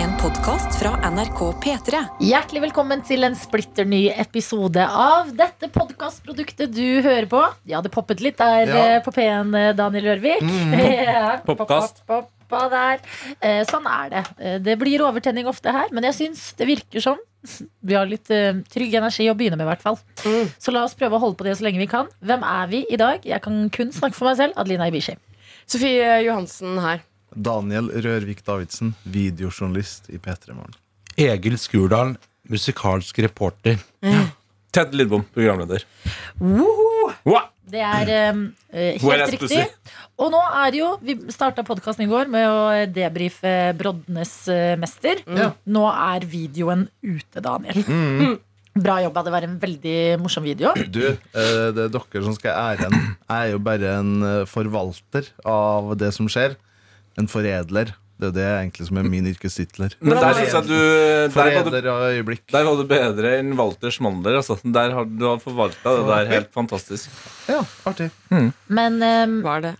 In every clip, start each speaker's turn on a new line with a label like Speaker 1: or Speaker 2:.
Speaker 1: En podkast fra NRK P3.
Speaker 2: Hjertelig velkommen til en splitter ny episode av dette podkastproduktet du hører på. Ja, det poppet litt der
Speaker 3: Ja.
Speaker 2: eh, på P1, eh, Daniel Rørvik. Ja, pop,
Speaker 4: Popkast.
Speaker 2: pop, poppa der. Eh, Sånn er det. Eh, Det blir overtenning ofte her, men jeg syns det virker sånn. Vi har litt eh, trygg energi å begynne med, i hvert fall. Så la oss prøve å holde på det så lenge vi kan. Hvem er vi i dag? Jeg kan kun snakke for meg selv. Adelina Ibishi.
Speaker 5: Sofie Johansen her.
Speaker 3: Daniel Rørvik Davidsen, videojournalist i P3 Morgen.
Speaker 6: Egil Skurdal, musikalsk reporter.
Speaker 4: Ted Lidbom, programleder. Wow!
Speaker 2: Det er eh, eh,
Speaker 4: Well,
Speaker 2: helt
Speaker 4: that's
Speaker 2: riktig. Og nå er det jo Vi starta podkasten i går med å debrife Brodnes eh, mester. Nå er videoen ute, Daniel. Bra jobba. Det var en veldig morsom video.
Speaker 3: Du, eh, det er dere som skal ha æren. Jeg er jo bare en eh, forvalter av det som skjer. En foredler. Det er jo det egentlig som er min yrkestitler.
Speaker 4: Men der synes jeg at du der var, du
Speaker 3: Forræder av øyeblikk.
Speaker 4: der var du bedre enn Walter Schmolder. Altså. Der har du har forvalta det der helt fantastisk.
Speaker 3: Ja, artig.
Speaker 2: Men eh,
Speaker 5: Var det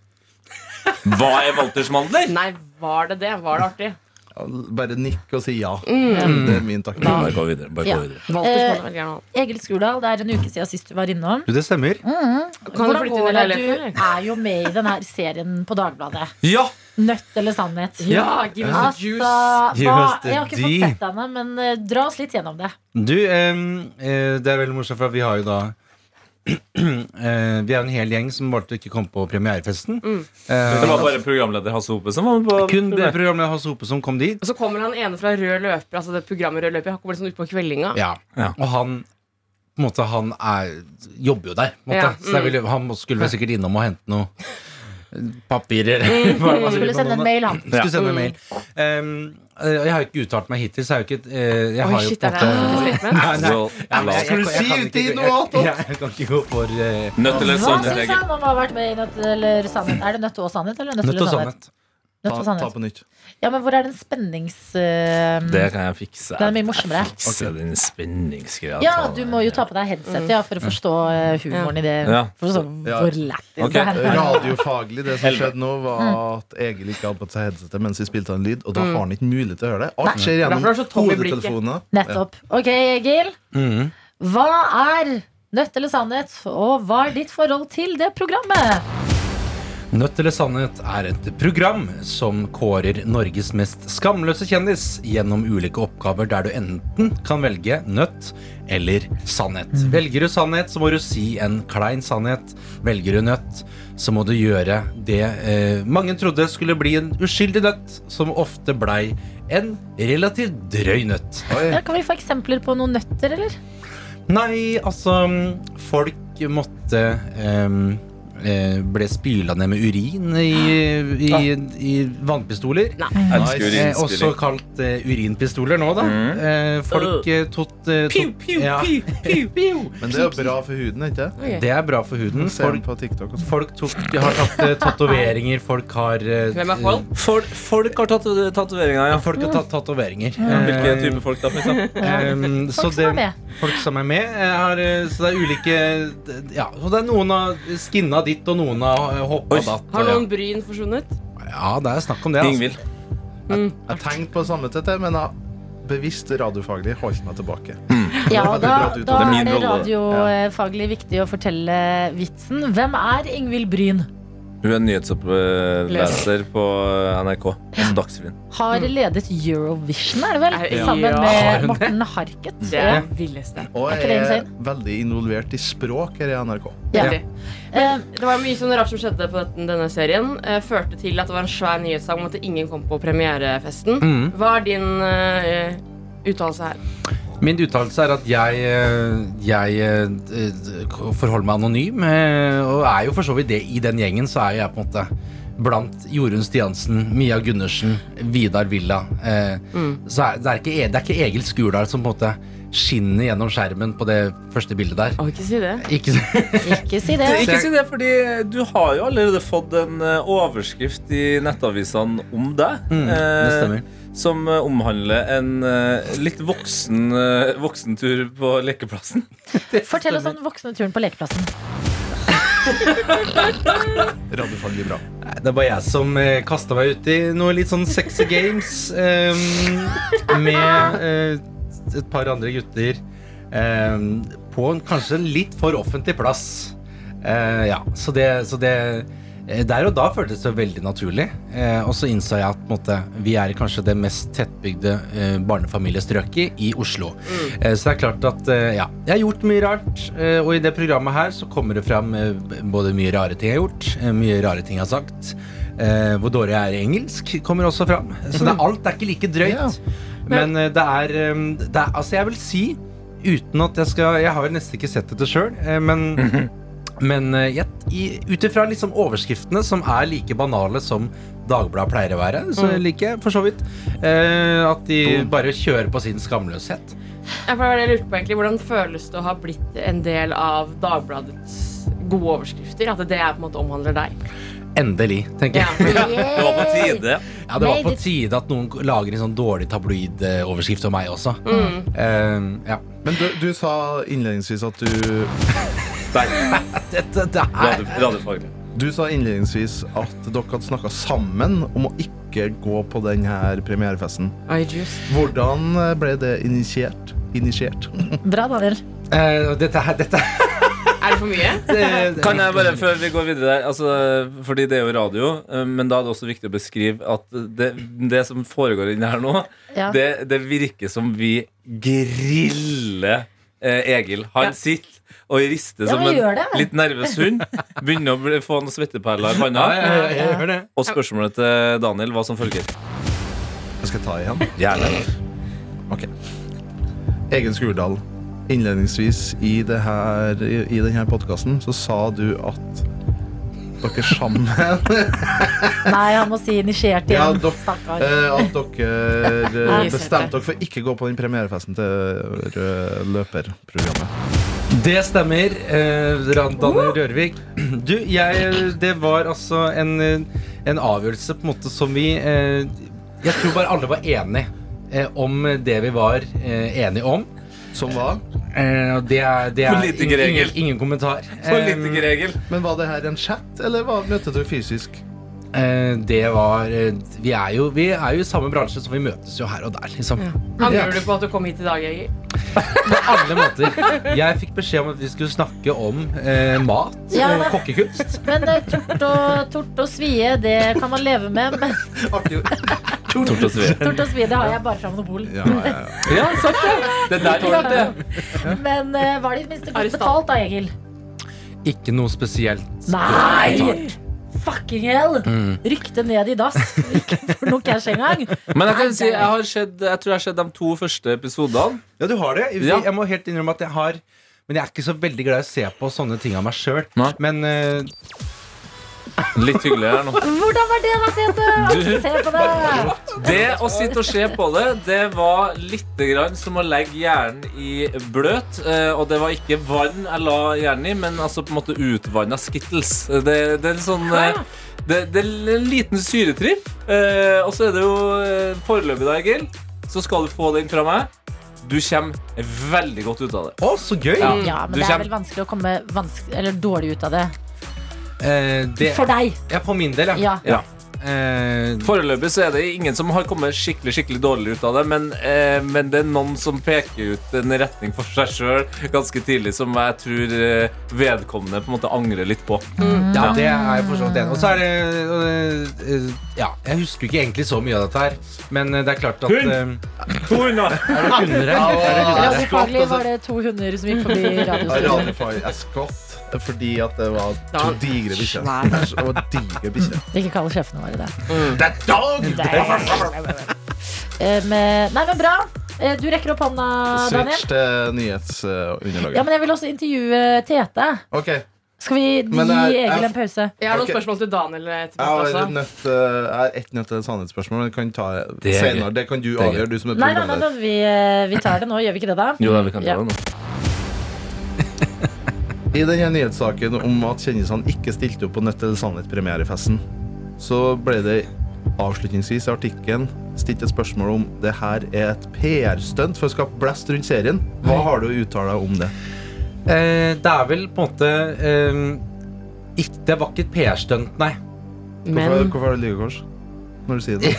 Speaker 4: Hva er Walter Schmolder?
Speaker 5: Nei, var det det? Var det artig?
Speaker 3: Ja, Bare nikk og si ja. Det er min takk.
Speaker 4: Bare gå videre. Bare
Speaker 2: Ja.
Speaker 4: gå videre.
Speaker 5: Walter
Speaker 2: Eh,
Speaker 5: Smolle velger gjerne han.
Speaker 2: Egil Skurdal, det er en uke siden sist du var innom.
Speaker 6: Du, det stemmer.
Speaker 5: Kan du
Speaker 2: Hvordan
Speaker 5: flytte inn i
Speaker 2: går det?
Speaker 5: leiligheten,
Speaker 2: Du er jo med i denne serien på Dagbladet.
Speaker 4: Ja!
Speaker 2: Nødt eller sannhet?
Speaker 5: Ja, give us the
Speaker 2: Altså,
Speaker 5: juice.
Speaker 2: hva,
Speaker 6: Just
Speaker 2: jeg har ikke
Speaker 6: the-
Speaker 2: fått sett henne, men eh, dra oss litt gjennom det.
Speaker 6: Du, ehm, eh, det er veldig morsomt, for vi har jo da eh, Vi er jo en hel gjeng som valgte å ikke komme på premierefesten. Eh,
Speaker 4: Det var bare programleder Hasse Hope som var med på
Speaker 6: kun
Speaker 4: premiere.
Speaker 6: programleder Hasse Hope som kom dit.
Speaker 5: Og så kommer han ene fra Rød løper, altså det programmet Rød løper. Han kommer liksom ut på kveldinga.
Speaker 6: Ja.
Speaker 4: Ja.
Speaker 6: Og han på en måte, han er, jobber jo der. På en måte.
Speaker 5: Ja,
Speaker 6: Så det er vel- han må- skulle vel sikkert innom og hente noe papirer. Hva er det man sier
Speaker 2: Skulle
Speaker 6: på
Speaker 2: sende
Speaker 6: noen-
Speaker 2: en mail, han.
Speaker 6: Skulle sende en mail. Ehm, eh, jeg har jo ikke uttalt meg hittil, så jeg har jo ikke eh, jeg
Speaker 5: Oi,
Speaker 6: har jo
Speaker 5: shit,
Speaker 6: på
Speaker 5: er
Speaker 6: en
Speaker 5: det
Speaker 6: måte-
Speaker 4: Nei, nei. la
Speaker 6: Ja, men jeg-
Speaker 4: oss-
Speaker 6: jeg- jeg kan
Speaker 3: si
Speaker 6: ikke-
Speaker 3: ut i
Speaker 6: jeg-
Speaker 3: noe annet, da.
Speaker 6: jeg- Jeg kan ikke gå for eh,
Speaker 4: Nødt eller sånn
Speaker 2: Hva
Speaker 4: sannhet,
Speaker 2: syns
Speaker 4: Egil?
Speaker 2: han om å ha vært med i Nødt eller sannhet? Er det Nødt og sannhet? Eller nødt,
Speaker 6: nødt og
Speaker 2: eller sannhet?
Speaker 6: sannhet.
Speaker 2: Nødt
Speaker 3: Ta,
Speaker 2: og
Speaker 3: ta
Speaker 2: sannhet.
Speaker 3: på nytt.
Speaker 2: Ja, men hvor er den spennings... eh,
Speaker 4: Det kan jeg fikse.
Speaker 2: Den er mye morsommere.
Speaker 4: Jeg fikser den spenningsgreia.
Speaker 2: Ja, du må jo ta på deg headsetet ja, for å forstå eh, humoren i det.
Speaker 4: Ja.
Speaker 2: For å så,
Speaker 3: Ja.
Speaker 2: hvor lættis
Speaker 4: Ok.
Speaker 2: det her er.
Speaker 3: Radiofaglig, det som skjedde nå, var at Egil ikke hadde på seg headsetet mens vi spilte en lyd, og da har han ikke mulighet til å høre det. Alt skjer gjennom
Speaker 5: Derfor er han så tom i blikket.
Speaker 3: hodetelefoner.
Speaker 2: Nettopp. Ok, Egil. Hva er Nødt eller sannhet, og hva er ditt forhold til det programmet?
Speaker 6: Nødt eller sannhet er et program som kårer Norges mest skamløse kjendis gjennom ulike oppgaver der du enten kan velge nødt eller sannhet. Velger du sannhet, så må du si en klein sannhet. Velger du nødt, så må du gjøre det eh, mange trodde skulle bli en uskyldig nøtt, som ofte blei en relativt drøy nøtt.
Speaker 2: Ja, kan vi få eksempler på noen nøtter, eller?
Speaker 6: Nei, altså mm, Folk måtte ehm, eh, Ble spyla ned med urin i, i, i vannpistoler.
Speaker 4: Elsker
Speaker 6: Eh, også
Speaker 4: urinspilling.
Speaker 6: kalt eh, urinpistoler nå, da.
Speaker 5: Mm.
Speaker 6: Eh, folk
Speaker 5: Øh.
Speaker 6: eh, tok eh, tok- ja.
Speaker 3: Men det er jo bra for huden, ikke det?
Speaker 5: Ok.
Speaker 6: Det er bra for huden.
Speaker 3: Ser den
Speaker 6: Folk,
Speaker 3: på TikTok og sånn.
Speaker 6: folk tok, har tatt eh, tatoveringer, folk har eh,
Speaker 5: Hvem er folk?
Speaker 4: Folk, folk har tatt tatoveringer, ja.
Speaker 6: Folk har tatt tatoveringer.
Speaker 4: Hvilke
Speaker 6: Eh,
Speaker 4: type folk, da? for eksempel?
Speaker 6: Ehm, så
Speaker 2: Folk som er
Speaker 6: det-
Speaker 2: med.
Speaker 6: Folk som er med. eh, Har, eh, så det er ulike d- Ja, så det er noen har skinna ditt, og noen har eh, hoppa
Speaker 4: Oi.
Speaker 6: datt.
Speaker 5: Har
Speaker 6: og ja.
Speaker 5: noen bryn forsvunnet?
Speaker 6: Ja, det er snakk om det. Altså.
Speaker 4: Ingvild.
Speaker 3: Jeg tenkte på sannhet, dette, men jeg bevisst radiofaglig holdt meg tilbake.
Speaker 2: Ja,
Speaker 3: Det var
Speaker 2: da,
Speaker 3: veldig bra at
Speaker 2: da
Speaker 3: du tok
Speaker 4: det. Det er
Speaker 2: er
Speaker 4: min
Speaker 2: det
Speaker 4: rolle, det.
Speaker 2: radiofaglig viktig å fortelle vitsen. Hvem er Ingvild Bryn?
Speaker 4: Hun er nyhetsoppleser på NRK. Altså Dagsrevyen.
Speaker 2: Har ledet Eurovision, er det vel?
Speaker 5: Ja.
Speaker 2: Sammen
Speaker 6: Har hun
Speaker 2: med
Speaker 6: det?
Speaker 2: Morten Harket.
Speaker 5: Det er det villeste.
Speaker 3: Og
Speaker 2: Er ikke det
Speaker 3: jeg er
Speaker 2: insane?
Speaker 3: veldig involvert i språk her i NRK.
Speaker 2: Ja.
Speaker 5: Veldig.
Speaker 2: Eh,
Speaker 5: Det var mye sånn rart som skjedde på dette- denne serien. Eh, Førte til at det var en svær nyhetssang om at ingen kom på premierefesten.
Speaker 6: Mm.
Speaker 5: Hva er din eh, uttalelse her?
Speaker 6: altså. Min uttalelse er at jeg, eh, jeg eh, d- d- forholder meg anonym, eh, og er jo for så vidt det i den gjengen, så er jo jeg på en måte Blant Jorunn Stiansen, Mia Gundersen, Vidar Villa. Eh, Så er, det, er ikke, E- det er ikke Egil Skurdal som på en måte skinner gjennom skjermen på det første bildet der.
Speaker 5: Å, ikke si det.
Speaker 6: Ikke
Speaker 2: ikke si det.
Speaker 4: Ikke si det, fordi du har jo allerede fått en eh, overskrift i nettavisene om deg.
Speaker 6: det
Speaker 4: eh,
Speaker 6: stemmer.
Speaker 4: Som eh, omhandler en eh, litt voksen eh, voksentur på lekeplassen.
Speaker 2: Fortell oss om den voksne turen på lekeplassen.
Speaker 3: Radiofaglig bra.
Speaker 6: Nei, Det var jeg som eh, kasta meg ut i noe litt sånn sexy games eh, med eh, et par andre gutter eh, på en kanskje en litt for offentlig plass. Eh, ja, så det, så det eh, Der og da føltes det veldig naturlig. Eh, og så innså jeg at på en måte, vi er kanskje det mest tettbygde eh, barnefamiliestrøket i Oslo. Eh, så det er klart at eh, ja, jeg har gjort mye rart. Eh, og i det programmet her så kommer det fram eh, b- både mye rare ting jeg har gjort, eh, mye rare ting jeg har sagt. Eh, hvor dårlig jeg er i engelsk, kommer også fram. Så det, er- alt er ikke like drøyt. Men eh, det er, eh, det er Altså, jeg vil si, uten at jeg skal Jeg har jo nesten ikke sett dette sjøl, men men eh, jeg- i- ut ifra liksom overskriftene, som er like banale som Dagbladet pleier å være, så
Speaker 4: Mm.
Speaker 6: liker jeg for så vidt eh, at de bare kjører på sin skamløshet.
Speaker 5: Ja, for det var det jeg lurte på egentlig Hvordan føles det å ha blitt en del av Dagbladets gode overskrifter? At det er på en måte omhandler deg?
Speaker 6: Endelig, tenker
Speaker 5: Ja.
Speaker 6: jeg.
Speaker 4: Det var på tide.
Speaker 6: Ja, det var på tide at noen lager en sånn dårlig tabloidoverskrift om meg også.
Speaker 4: Mm.
Speaker 6: Eh, ja.
Speaker 3: Men du, du sa innledningsvis at du
Speaker 4: Der.
Speaker 6: Dette det er
Speaker 4: Radio, radiofaglig.
Speaker 3: Du sa innledningsvis at dere hadde snakka sammen om å ikke gå på denne premierefesten.
Speaker 5: Oi, juice.
Speaker 3: Hvordan ble det initiert? Initiert?
Speaker 2: Bra, Daniel.
Speaker 6: eh, Dette her dette,
Speaker 5: Er det for mye?
Speaker 6: det,
Speaker 4: Kan jeg bare, før vi går videre der altså, Fordi det er jo radio, eh, men da er det også viktig å beskrive at det, det som foregår inni her nå,
Speaker 2: Ja.
Speaker 4: det, det virker som vi griller eh, Egil. Han
Speaker 5: Ja.
Speaker 4: sitter og rister
Speaker 2: Ja,
Speaker 4: som
Speaker 2: men
Speaker 4: en
Speaker 2: gjør det.
Speaker 4: litt nervøs hund. Begynner å bli- få noen svetteperler i panna.
Speaker 6: ja, ja, ja, jeg hører det.
Speaker 4: Og spørsmålet til Daniel var som følger.
Speaker 3: Jeg skal ta igjen.
Speaker 6: Gjerne.
Speaker 3: Egen Skurdal. Innledningsvis i, det her, i, i denne podkasten så sa du at dere sammen
Speaker 2: Nei, han må si initiert
Speaker 3: Ja,
Speaker 2: igjen.
Speaker 3: dok-
Speaker 2: Stakkar.
Speaker 3: eh, At dere eh,
Speaker 5: Nei,
Speaker 3: bestemte dere for ikke å gå på den premierefesten til eh, løperprogrammet.
Speaker 6: Det stemmer, eh, Ran- Daniel Rørvik. Du, jeg, det var altså en, eh, en avgjørelse på en måte som vi eh, Jeg tror bare alle var enige eh, om det vi var eh, enige om.
Speaker 3: Som var.
Speaker 6: Eh, og det er, det er
Speaker 4: Politiker
Speaker 6: ingen-
Speaker 4: Egil.
Speaker 6: ingen, ingen kommentar. Eh,
Speaker 4: Politiker Egil.
Speaker 3: Men var det her en chat, eller var, møtte du fysisk?
Speaker 6: Eh, det var eh, vi, er jo, vi er jo i samme bransje, så vi møtes jo her og der, liksom.
Speaker 5: Angrer du på at du kom hit i dag, Egil?
Speaker 6: Alle måter. Jeg fikk beskjed om at vi skulle snakke om eh, mat
Speaker 2: Ja,
Speaker 6: og
Speaker 2: da.
Speaker 6: kokkekunst.
Speaker 2: Men eh, tort og, tort og svie, det kan man leve med. Men
Speaker 3: Artig.
Speaker 4: Tort og svir.
Speaker 2: tort og svie, det har jeg bare fra monopol.
Speaker 3: Ja, ja, ja.
Speaker 6: Ja, sant det.
Speaker 4: Det der var det.
Speaker 2: Men eh, var det i det minste godt
Speaker 5: Arrestant.
Speaker 2: betalt da, Egil?
Speaker 6: Ikke noe spesielt.
Speaker 2: Nei! Fucking hell! Rykte ned i dass. Ikke for noe cash engang.
Speaker 4: Men jeg kan si, jeg, har sett, jeg tror jeg har sett de to første episodene.
Speaker 6: Ja, du har det.
Speaker 4: Ja.
Speaker 6: Jeg må helt innrømme at jeg har Men jeg er ikke så veldig glad i å se på sånne ting av meg sjøl.
Speaker 4: Nei.
Speaker 6: Men eh,
Speaker 4: Litt hyggelig her nå.
Speaker 2: Hvordan var det, da, Tete?
Speaker 4: Du-
Speaker 2: Se på det!
Speaker 4: Det å sitte og se på det, det var litt grann som å legge hjernen i bløt. eh, Og det var ikke vann jeg la hjernen i, men altså på en måte utvanna skittles. Det, det er en sånn eh, det, det er en liten syretripp. Eh, Og så er det jo eh, foreløpig, da, Egil, så skal du få den fra meg. Du kommer veldig godt ut av det.
Speaker 6: Å, så gøy!
Speaker 4: Ja.
Speaker 2: Mm. Ja, men
Speaker 4: Du
Speaker 2: det er
Speaker 4: kjem-
Speaker 2: vel vanskelig å komme vanske- eller dårlig ut av det.
Speaker 6: Eh, det
Speaker 2: For deg!
Speaker 6: Ja, for min del, ja.
Speaker 2: Ja.
Speaker 4: Ja.
Speaker 6: Eh,
Speaker 4: Foreløpig så er det ingen som har kommet skikkelig skikkelig dårlig ut av det, men, eh, men det er noen som peker ut en retning for seg sjøl ganske tidlig som jeg tror eh, vedkommende på en måte angrer litt på.
Speaker 6: Mm. ja, det er jeg for så vidt enig i. Og så er det eh, eh, Ja, jeg husker ikke egentlig så mye av dette her, men eh, det er klart at
Speaker 4: Hund!
Speaker 6: eh,
Speaker 4: To hunder!
Speaker 6: Er det hunder her? Er det hunder?
Speaker 3: altså.
Speaker 2: Radiofaglig var det to hunder som gikk forbi radiostudio.
Speaker 3: Radiofar er skott fordi at det var to
Speaker 5: Da-
Speaker 3: digre bikkjer.
Speaker 5: Svær.
Speaker 3: Det var digre bikkjer.
Speaker 2: Ikke kall sjefene våre det.
Speaker 6: Det er dog!
Speaker 2: Eh, men- Nei, men bra. Eh, Du rekker opp hånda, Daniel.
Speaker 3: Switch til nyhetsunderlaget.
Speaker 2: Ja, men jeg vil også intervjue Tete.
Speaker 3: OK.
Speaker 2: Skal vi gi
Speaker 3: Men det er-
Speaker 2: Egil en
Speaker 3: jeg-
Speaker 2: pause?
Speaker 5: Jeg har noen
Speaker 3: Ok.
Speaker 5: spørsmål til Daniel
Speaker 3: Jeg
Speaker 5: etterpå også.
Speaker 2: altså.
Speaker 3: har, nødt, eh, jeg har ett nødt til et sannhetsspørsmål. Men jeg kan ta det
Speaker 6: Det er
Speaker 3: senere. Det kan du
Speaker 6: er
Speaker 3: avgjøre, du som er
Speaker 2: Nei, nei, nei,
Speaker 3: programleder.
Speaker 2: nei vi, eh, vi tar det nå. Gjør vi ikke det, da?
Speaker 4: Jo da, vi kan
Speaker 2: Ja.
Speaker 4: ta det nå.
Speaker 3: I denne nyhetssaken om at kjendisene ikke stilte opp på Nødt eller sannhet-premierefesten, så ble det avslutningsvis i artikkelen stilt et spørsmål om det her er et PR-stunt for å skape blest rundt serien. Hva har du å uttale deg om det?
Speaker 6: Eh, det er vel på en måte eh, Ikk- Det var ikke et PR-stunt, nei.
Speaker 5: Men
Speaker 3: Hvorfor, hvorfor er det lygekors? Når du sier det.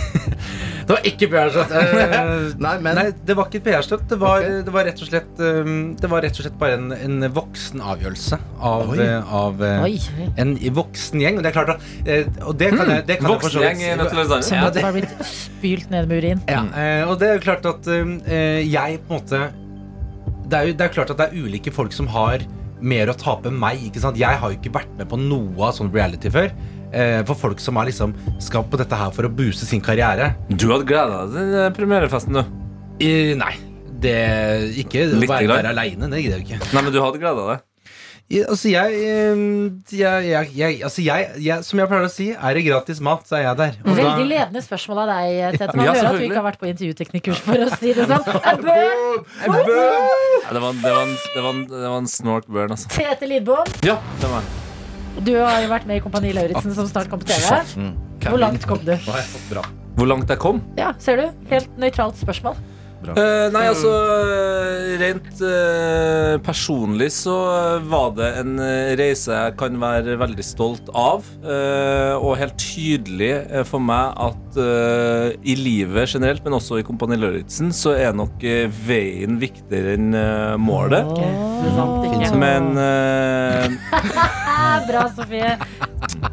Speaker 6: Det var ikke PR-stunt. eh,
Speaker 3: Nei, men
Speaker 6: Nei, det var ikke et PR-stunt. Det, var-
Speaker 3: Ok.
Speaker 6: det var rett og slett um, Det var rett og slett bare en, en voksen avgjørelse av,
Speaker 3: Oi.
Speaker 6: eh, av eh,
Speaker 2: Oi.
Speaker 6: en voksen gjeng. Og det er klart, da eh, Og det kan jeg, det kan jeg for så vidt-
Speaker 4: Voksengjeng i Nødt til å
Speaker 2: Som
Speaker 4: Lasagne.
Speaker 6: Ja,
Speaker 2: at det har blitt spylt ned med urin.
Speaker 6: Ja, eh, og det er jo klart at eh, jeg på en måte det er, jo, det er klart at det er ulike folk som har mer å tape enn meg. Ikke sant? Jeg har jo ikke vært med på noe av sånn reality før. Eh, for folk som er liksom skal på dette her for å booste sin karriere.
Speaker 4: Du hadde gleda deg til eh, premierefesten, du.
Speaker 6: Eh, nei. Det Ikke å
Speaker 4: Litt
Speaker 6: være,
Speaker 4: grann.
Speaker 6: være aleine. Det gidder jeg jo ikke.
Speaker 4: Nei, men du hadde gleda deg.
Speaker 6: I- Altså, jeg, eh, jeg, jeg, jeg, altså jeg, jeg Som jeg pleier å si, er det gratis mat, så er jeg der. Og da-
Speaker 2: Veldig ledende spørsmål av deg, Tete. Man
Speaker 4: Ja,
Speaker 2: hører at du
Speaker 4: selvfølgelig.
Speaker 2: ikke har vært på intervjuteknikkurs, for å si det sånn. Jeg bør
Speaker 4: Ja, Det var, en- det var, en- det var, en- det var en snork burn, altså.
Speaker 2: Tete Lidbom,
Speaker 4: Ja, det var en.
Speaker 2: du har jo vært med i Kompani
Speaker 4: Ah,
Speaker 2: Lauritzen, som snart kommer på TV.
Speaker 4: Mm,
Speaker 2: Hvor langt kom du?
Speaker 6: Nå har jeg fått bra.
Speaker 4: Hvor langt jeg kom?
Speaker 2: Ja, ser du? Helt nøytralt spørsmål.
Speaker 4: Eh, nei, altså eh, Rent eh, personlig så eh, var det en eh, reise jeg kan være veldig stolt av. eh, og helt tydelig eh, for meg at eh, i livet generelt, men også i Kompani Lauritzen, så er nok eh, veien viktigere enn eh, målet.
Speaker 5: du vant ikke.
Speaker 4: Men eh,
Speaker 2: Ah, bra, Sofie.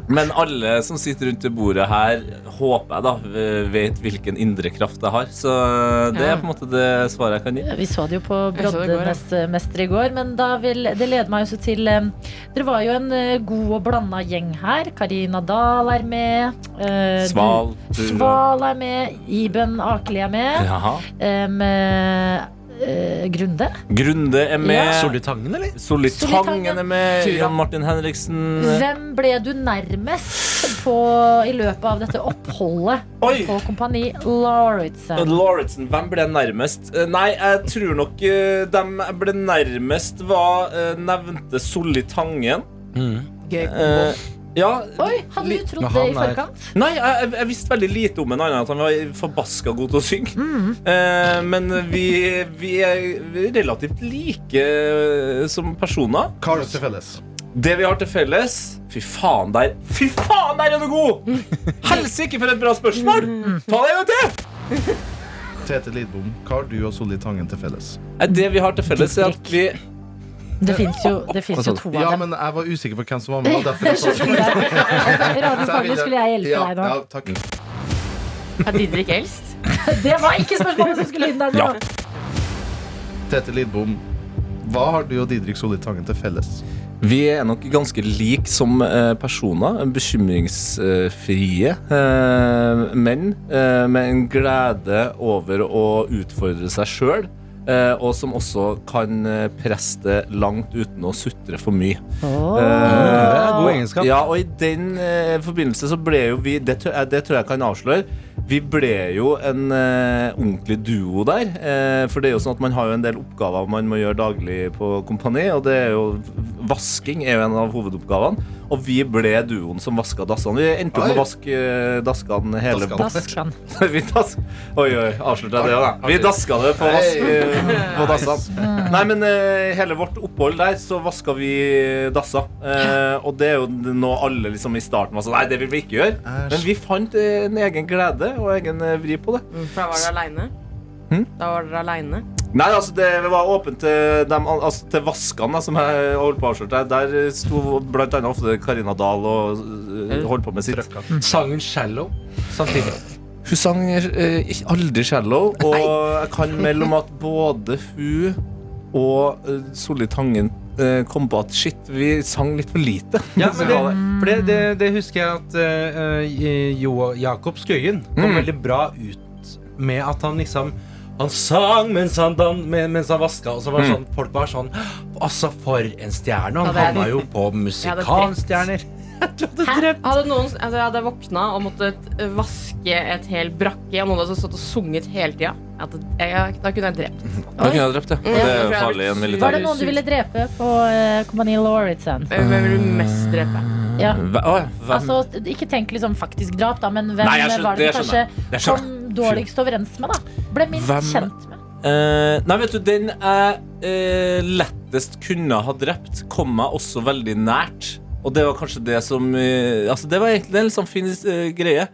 Speaker 4: Men alle som sitter rundt det bordet her, håper jeg da eh, vet hvilken indre kraft jeg har. Så eh, det er på en måte det svaret jeg kan gi.
Speaker 2: Vi så det jo på
Speaker 5: Jeg så det i går, ja.
Speaker 2: Broddemester i går, men da vil, det leder meg også til eh, Dere var jo en eh, god og blanda gjeng her. Karina Dahl er med. eh, du-
Speaker 4: Sval. du-
Speaker 2: Sval er med. Iben Akeli er med.
Speaker 4: Jaha.
Speaker 2: Em, eh, eh, Grunde.
Speaker 4: Grunde er med.
Speaker 2: Ja.
Speaker 6: Solitangen, eller?
Speaker 4: Solitangen er med.
Speaker 2: Tura.
Speaker 4: Jan Martin Henriksen.
Speaker 2: Hvem ble du nærmest på, i løpet av dette oppholdet
Speaker 4: Oi!
Speaker 2: på Kompani Lauritzen?
Speaker 4: Lauritzen, hvem ble nærmest? Eh, Nei, jeg tror nok eh, dem jeg ble nærmest, var eh, nevnte Solli Tangen.
Speaker 5: Gøy.
Speaker 4: Eh, ja,
Speaker 2: Oi, hadde du trodd
Speaker 6: Men
Speaker 2: det i
Speaker 6: han er-
Speaker 2: forkant?
Speaker 4: Nei, jeg, jeg- jeg visste veldig lite om en annen enn at han var forbaska god til å synge.
Speaker 2: Mhm.
Speaker 4: Eh, men vi, vi er relativt like eh, som personer.
Speaker 3: Hva har dere til felles?
Speaker 4: Det vi har til felles Fy faen, der Fy faen, der er du god! Helsike, for et bra spørsmål! Ta det en gang til!
Speaker 3: Tete Lidbom, hva har du og Solli Tangen til felles?
Speaker 4: Eh, Det vi har til felles, er at vi
Speaker 2: Det fins jo, det finnes
Speaker 4: sånn.
Speaker 2: jo to av
Speaker 3: Ja,
Speaker 2: dem.
Speaker 3: men jeg var usikker på hvem som var med. Og derfor jeg sa det.
Speaker 2: Altså, Radiofaglig skulle jeg hjelpe
Speaker 3: ja,
Speaker 2: deg nå.
Speaker 3: Ja, takk.
Speaker 5: Er Didrik eldst?
Speaker 2: Det var ikke spørsmålet som skulle inn der nå.
Speaker 4: Ja.
Speaker 3: Tete Lidbom, hva har du og Didrik Solli Tangen til felles?
Speaker 4: Vi er nok ganske like som eh, personer. Bekymringsfrie eh, menn eh, med en glede over å utfordre seg sjøl. Eh, og som også kan eh, presse det langt uten å sutre for mye.
Speaker 6: Det
Speaker 4: Eh,
Speaker 6: er god egenskap.
Speaker 4: ja, og i den eh, forbindelse så ble jo vi det tror, jeg, det tror jeg kan avsløre. Vi ble jo en eh, ordentlig duo der. Eh, for det er jo sånn at man har jo en del oppgaver man må gjøre daglig på kompani, og det er jo vasking er jo en av hovedoppgavene. Og vi ble duoen som vaska dassene. Vi endte opp med å
Speaker 3: Oi.
Speaker 4: vaske eh, daskene hele
Speaker 3: Daskene.
Speaker 2: Daskan.
Speaker 4: vi dask... Oi, oi, avslørte jeg det òg, da. Vi daska det på, vask, eh, på dassene. Nei, men eh, hele vårt opphold der, så vaska vi dassa. Eh, og det er jo noe alle liksom i starten var sånn Nei, det vil vi ikke gjøre. Men vi fant eh, en egen glede og egen eh, vri på det.
Speaker 5: Mm, For da var dere aleine? Da var dere aleine?
Speaker 4: Nei, altså, det var åpent til, dem, al- altså, til vaskene da, som jeg holdt på å avsløre. Der eh, sto blant annet ofte Karina Dahl og eh, holdt på med sitt.
Speaker 6: Sangen 'Shallow' samtidig.
Speaker 4: Hun sang eh, ikke- aldri cello, og jeg kan melde om at både hun og eh, Solli Tangen eh, kom på at shit, vi sang litt for lite.
Speaker 6: Ja, men det, for det, det, det husker jeg at eh, Jo Jakob Skøyen
Speaker 4: Mm.
Speaker 6: kom veldig bra ut med at han liksom han sang mens han, dan, men- mens han vaska, og så
Speaker 4: Mm.
Speaker 6: var det sånn, folk var sånn Altså, for en stjerne! Han
Speaker 5: Ja, det er-
Speaker 6: havna jo på
Speaker 5: Ja, det er
Speaker 6: musikalstjerner.
Speaker 5: Hadde noen, altså jeg hadde våkna og måtte t- vaske et helt brakke, og noen hadde stått og sunget hele tida, jeg- jeg- da kunne jeg drept.
Speaker 4: Da kunne jeg drept det. Og det er
Speaker 5: Ja, for
Speaker 4: jo
Speaker 5: jeg
Speaker 4: farlig i en
Speaker 5: blir sur.
Speaker 2: Var det
Speaker 4: militær.
Speaker 2: noen du ville drepe på eh, Kompani Lauritzen?
Speaker 5: Hvem vil du mest drepe?
Speaker 2: Ja.
Speaker 4: Hva- å, Eh, hvem-
Speaker 2: Altså, ikke tenk liksom faktisk drap, da, men hvem
Speaker 4: Nei, jeg skjønner-
Speaker 2: var det
Speaker 4: det
Speaker 2: du kanskje
Speaker 4: skjønner Det skjønner
Speaker 2: kom dårligst overens med, da? Ble minst
Speaker 4: Hvem-
Speaker 2: kjent med?
Speaker 4: Eh, nei, vet du, den jeg eh, lettest kunne ha drept, kom meg også veldig nært. Og det var kanskje det som eh, Altså, det var egentlig en litt sånn fin eh, greie.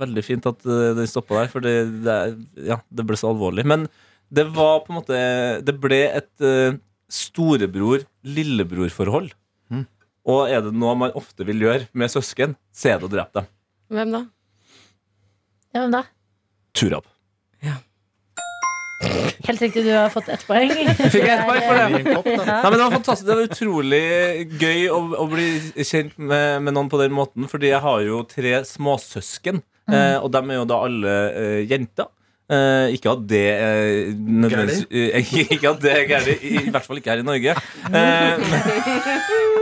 Speaker 4: Veldig fint at eh, det stoppa der, for det, det, er- ja, det ble så alvorlig. Men det var på en måte Det ble et eh, storebror-lillebror-forhold.
Speaker 3: Mhm.
Speaker 4: Og er det noe man ofte vil gjøre med søsken, så er det å drepe dem.
Speaker 5: Hvem da?
Speaker 2: Ja, hvem da?
Speaker 4: Turab.
Speaker 2: Helt riktig, du har fått ett poeng. Fikk
Speaker 4: ett poeng for det.
Speaker 3: en kopp, da.
Speaker 4: Nei, men Det var fantastisk, det var utrolig gøy å, å bli kjent med, med noen på den måten. Fordi jeg har jo tre småsøsken, eh, og de er jo da alle eh, jenter. Eh, ikke at det eh, nødvendigvis eh, Ikke at det er gærent. I, I hvert fall ikke her i Norge. Eh, men,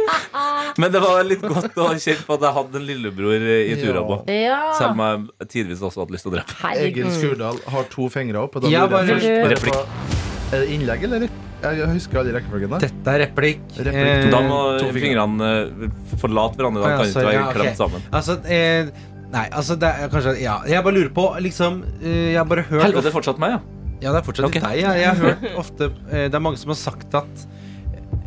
Speaker 4: men det var litt godt å kjenne på at jeg hadde en lillebror eh, i Turabo.
Speaker 2: Ja.
Speaker 4: Selv om jeg tidvis også hadde lyst til å drepe.
Speaker 2: Herregud.
Speaker 3: Egil Skurdal har to fingre opp. Og da
Speaker 6: Ja,
Speaker 3: lurer jeg
Speaker 2: bare-
Speaker 3: først bare på- Er det innlegg, eller? Jeg jeg husker aldri rekkefølgen. der.
Speaker 6: Dette er replikk. Eh,
Speaker 3: Replikk.
Speaker 4: Da må
Speaker 3: To fingre.
Speaker 4: fingrene eh, forlate hverandre. Da
Speaker 6: Ja,
Speaker 4: kan de ikke
Speaker 6: sorry.
Speaker 4: være
Speaker 6: Ja, ok.
Speaker 4: klemt sammen.
Speaker 6: Altså, eh, nei, altså det er kanskje Ja, jeg bare lurer på, liksom eh, Jeg har bare hørt
Speaker 4: Helvete, det er fortsatt meg, ja.
Speaker 6: Ja, det er fortsatt
Speaker 4: Ok.
Speaker 6: deg. Jeg, jeg har hørt ofte eh, Det er mange som har sagt at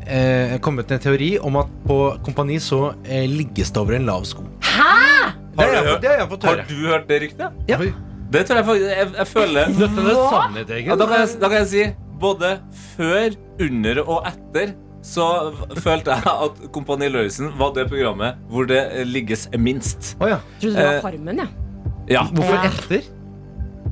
Speaker 6: eh, Kommet med en teori om at på kompani så eh, ligges det over en lav sko. Det
Speaker 4: Har
Speaker 6: har
Speaker 4: du
Speaker 6: jeg,
Speaker 4: hørt-
Speaker 6: fått- det har jeg fått
Speaker 4: Har
Speaker 6: høre.
Speaker 4: du hørt det ryktet?
Speaker 6: Ja.
Speaker 4: Det tror jeg faktisk Jeg, jeg føler
Speaker 6: er sannhet,
Speaker 4: ja, da, kan jeg, da kan jeg si både før, under og etter så f- følte jeg at Kompani Lauritzen var det programmet hvor det eh, ligges minst.
Speaker 6: Å ja.
Speaker 5: Trodde det
Speaker 4: Eh,
Speaker 5: var Farmen, jeg. Ja.
Speaker 4: Ja.
Speaker 6: Hvorfor etter?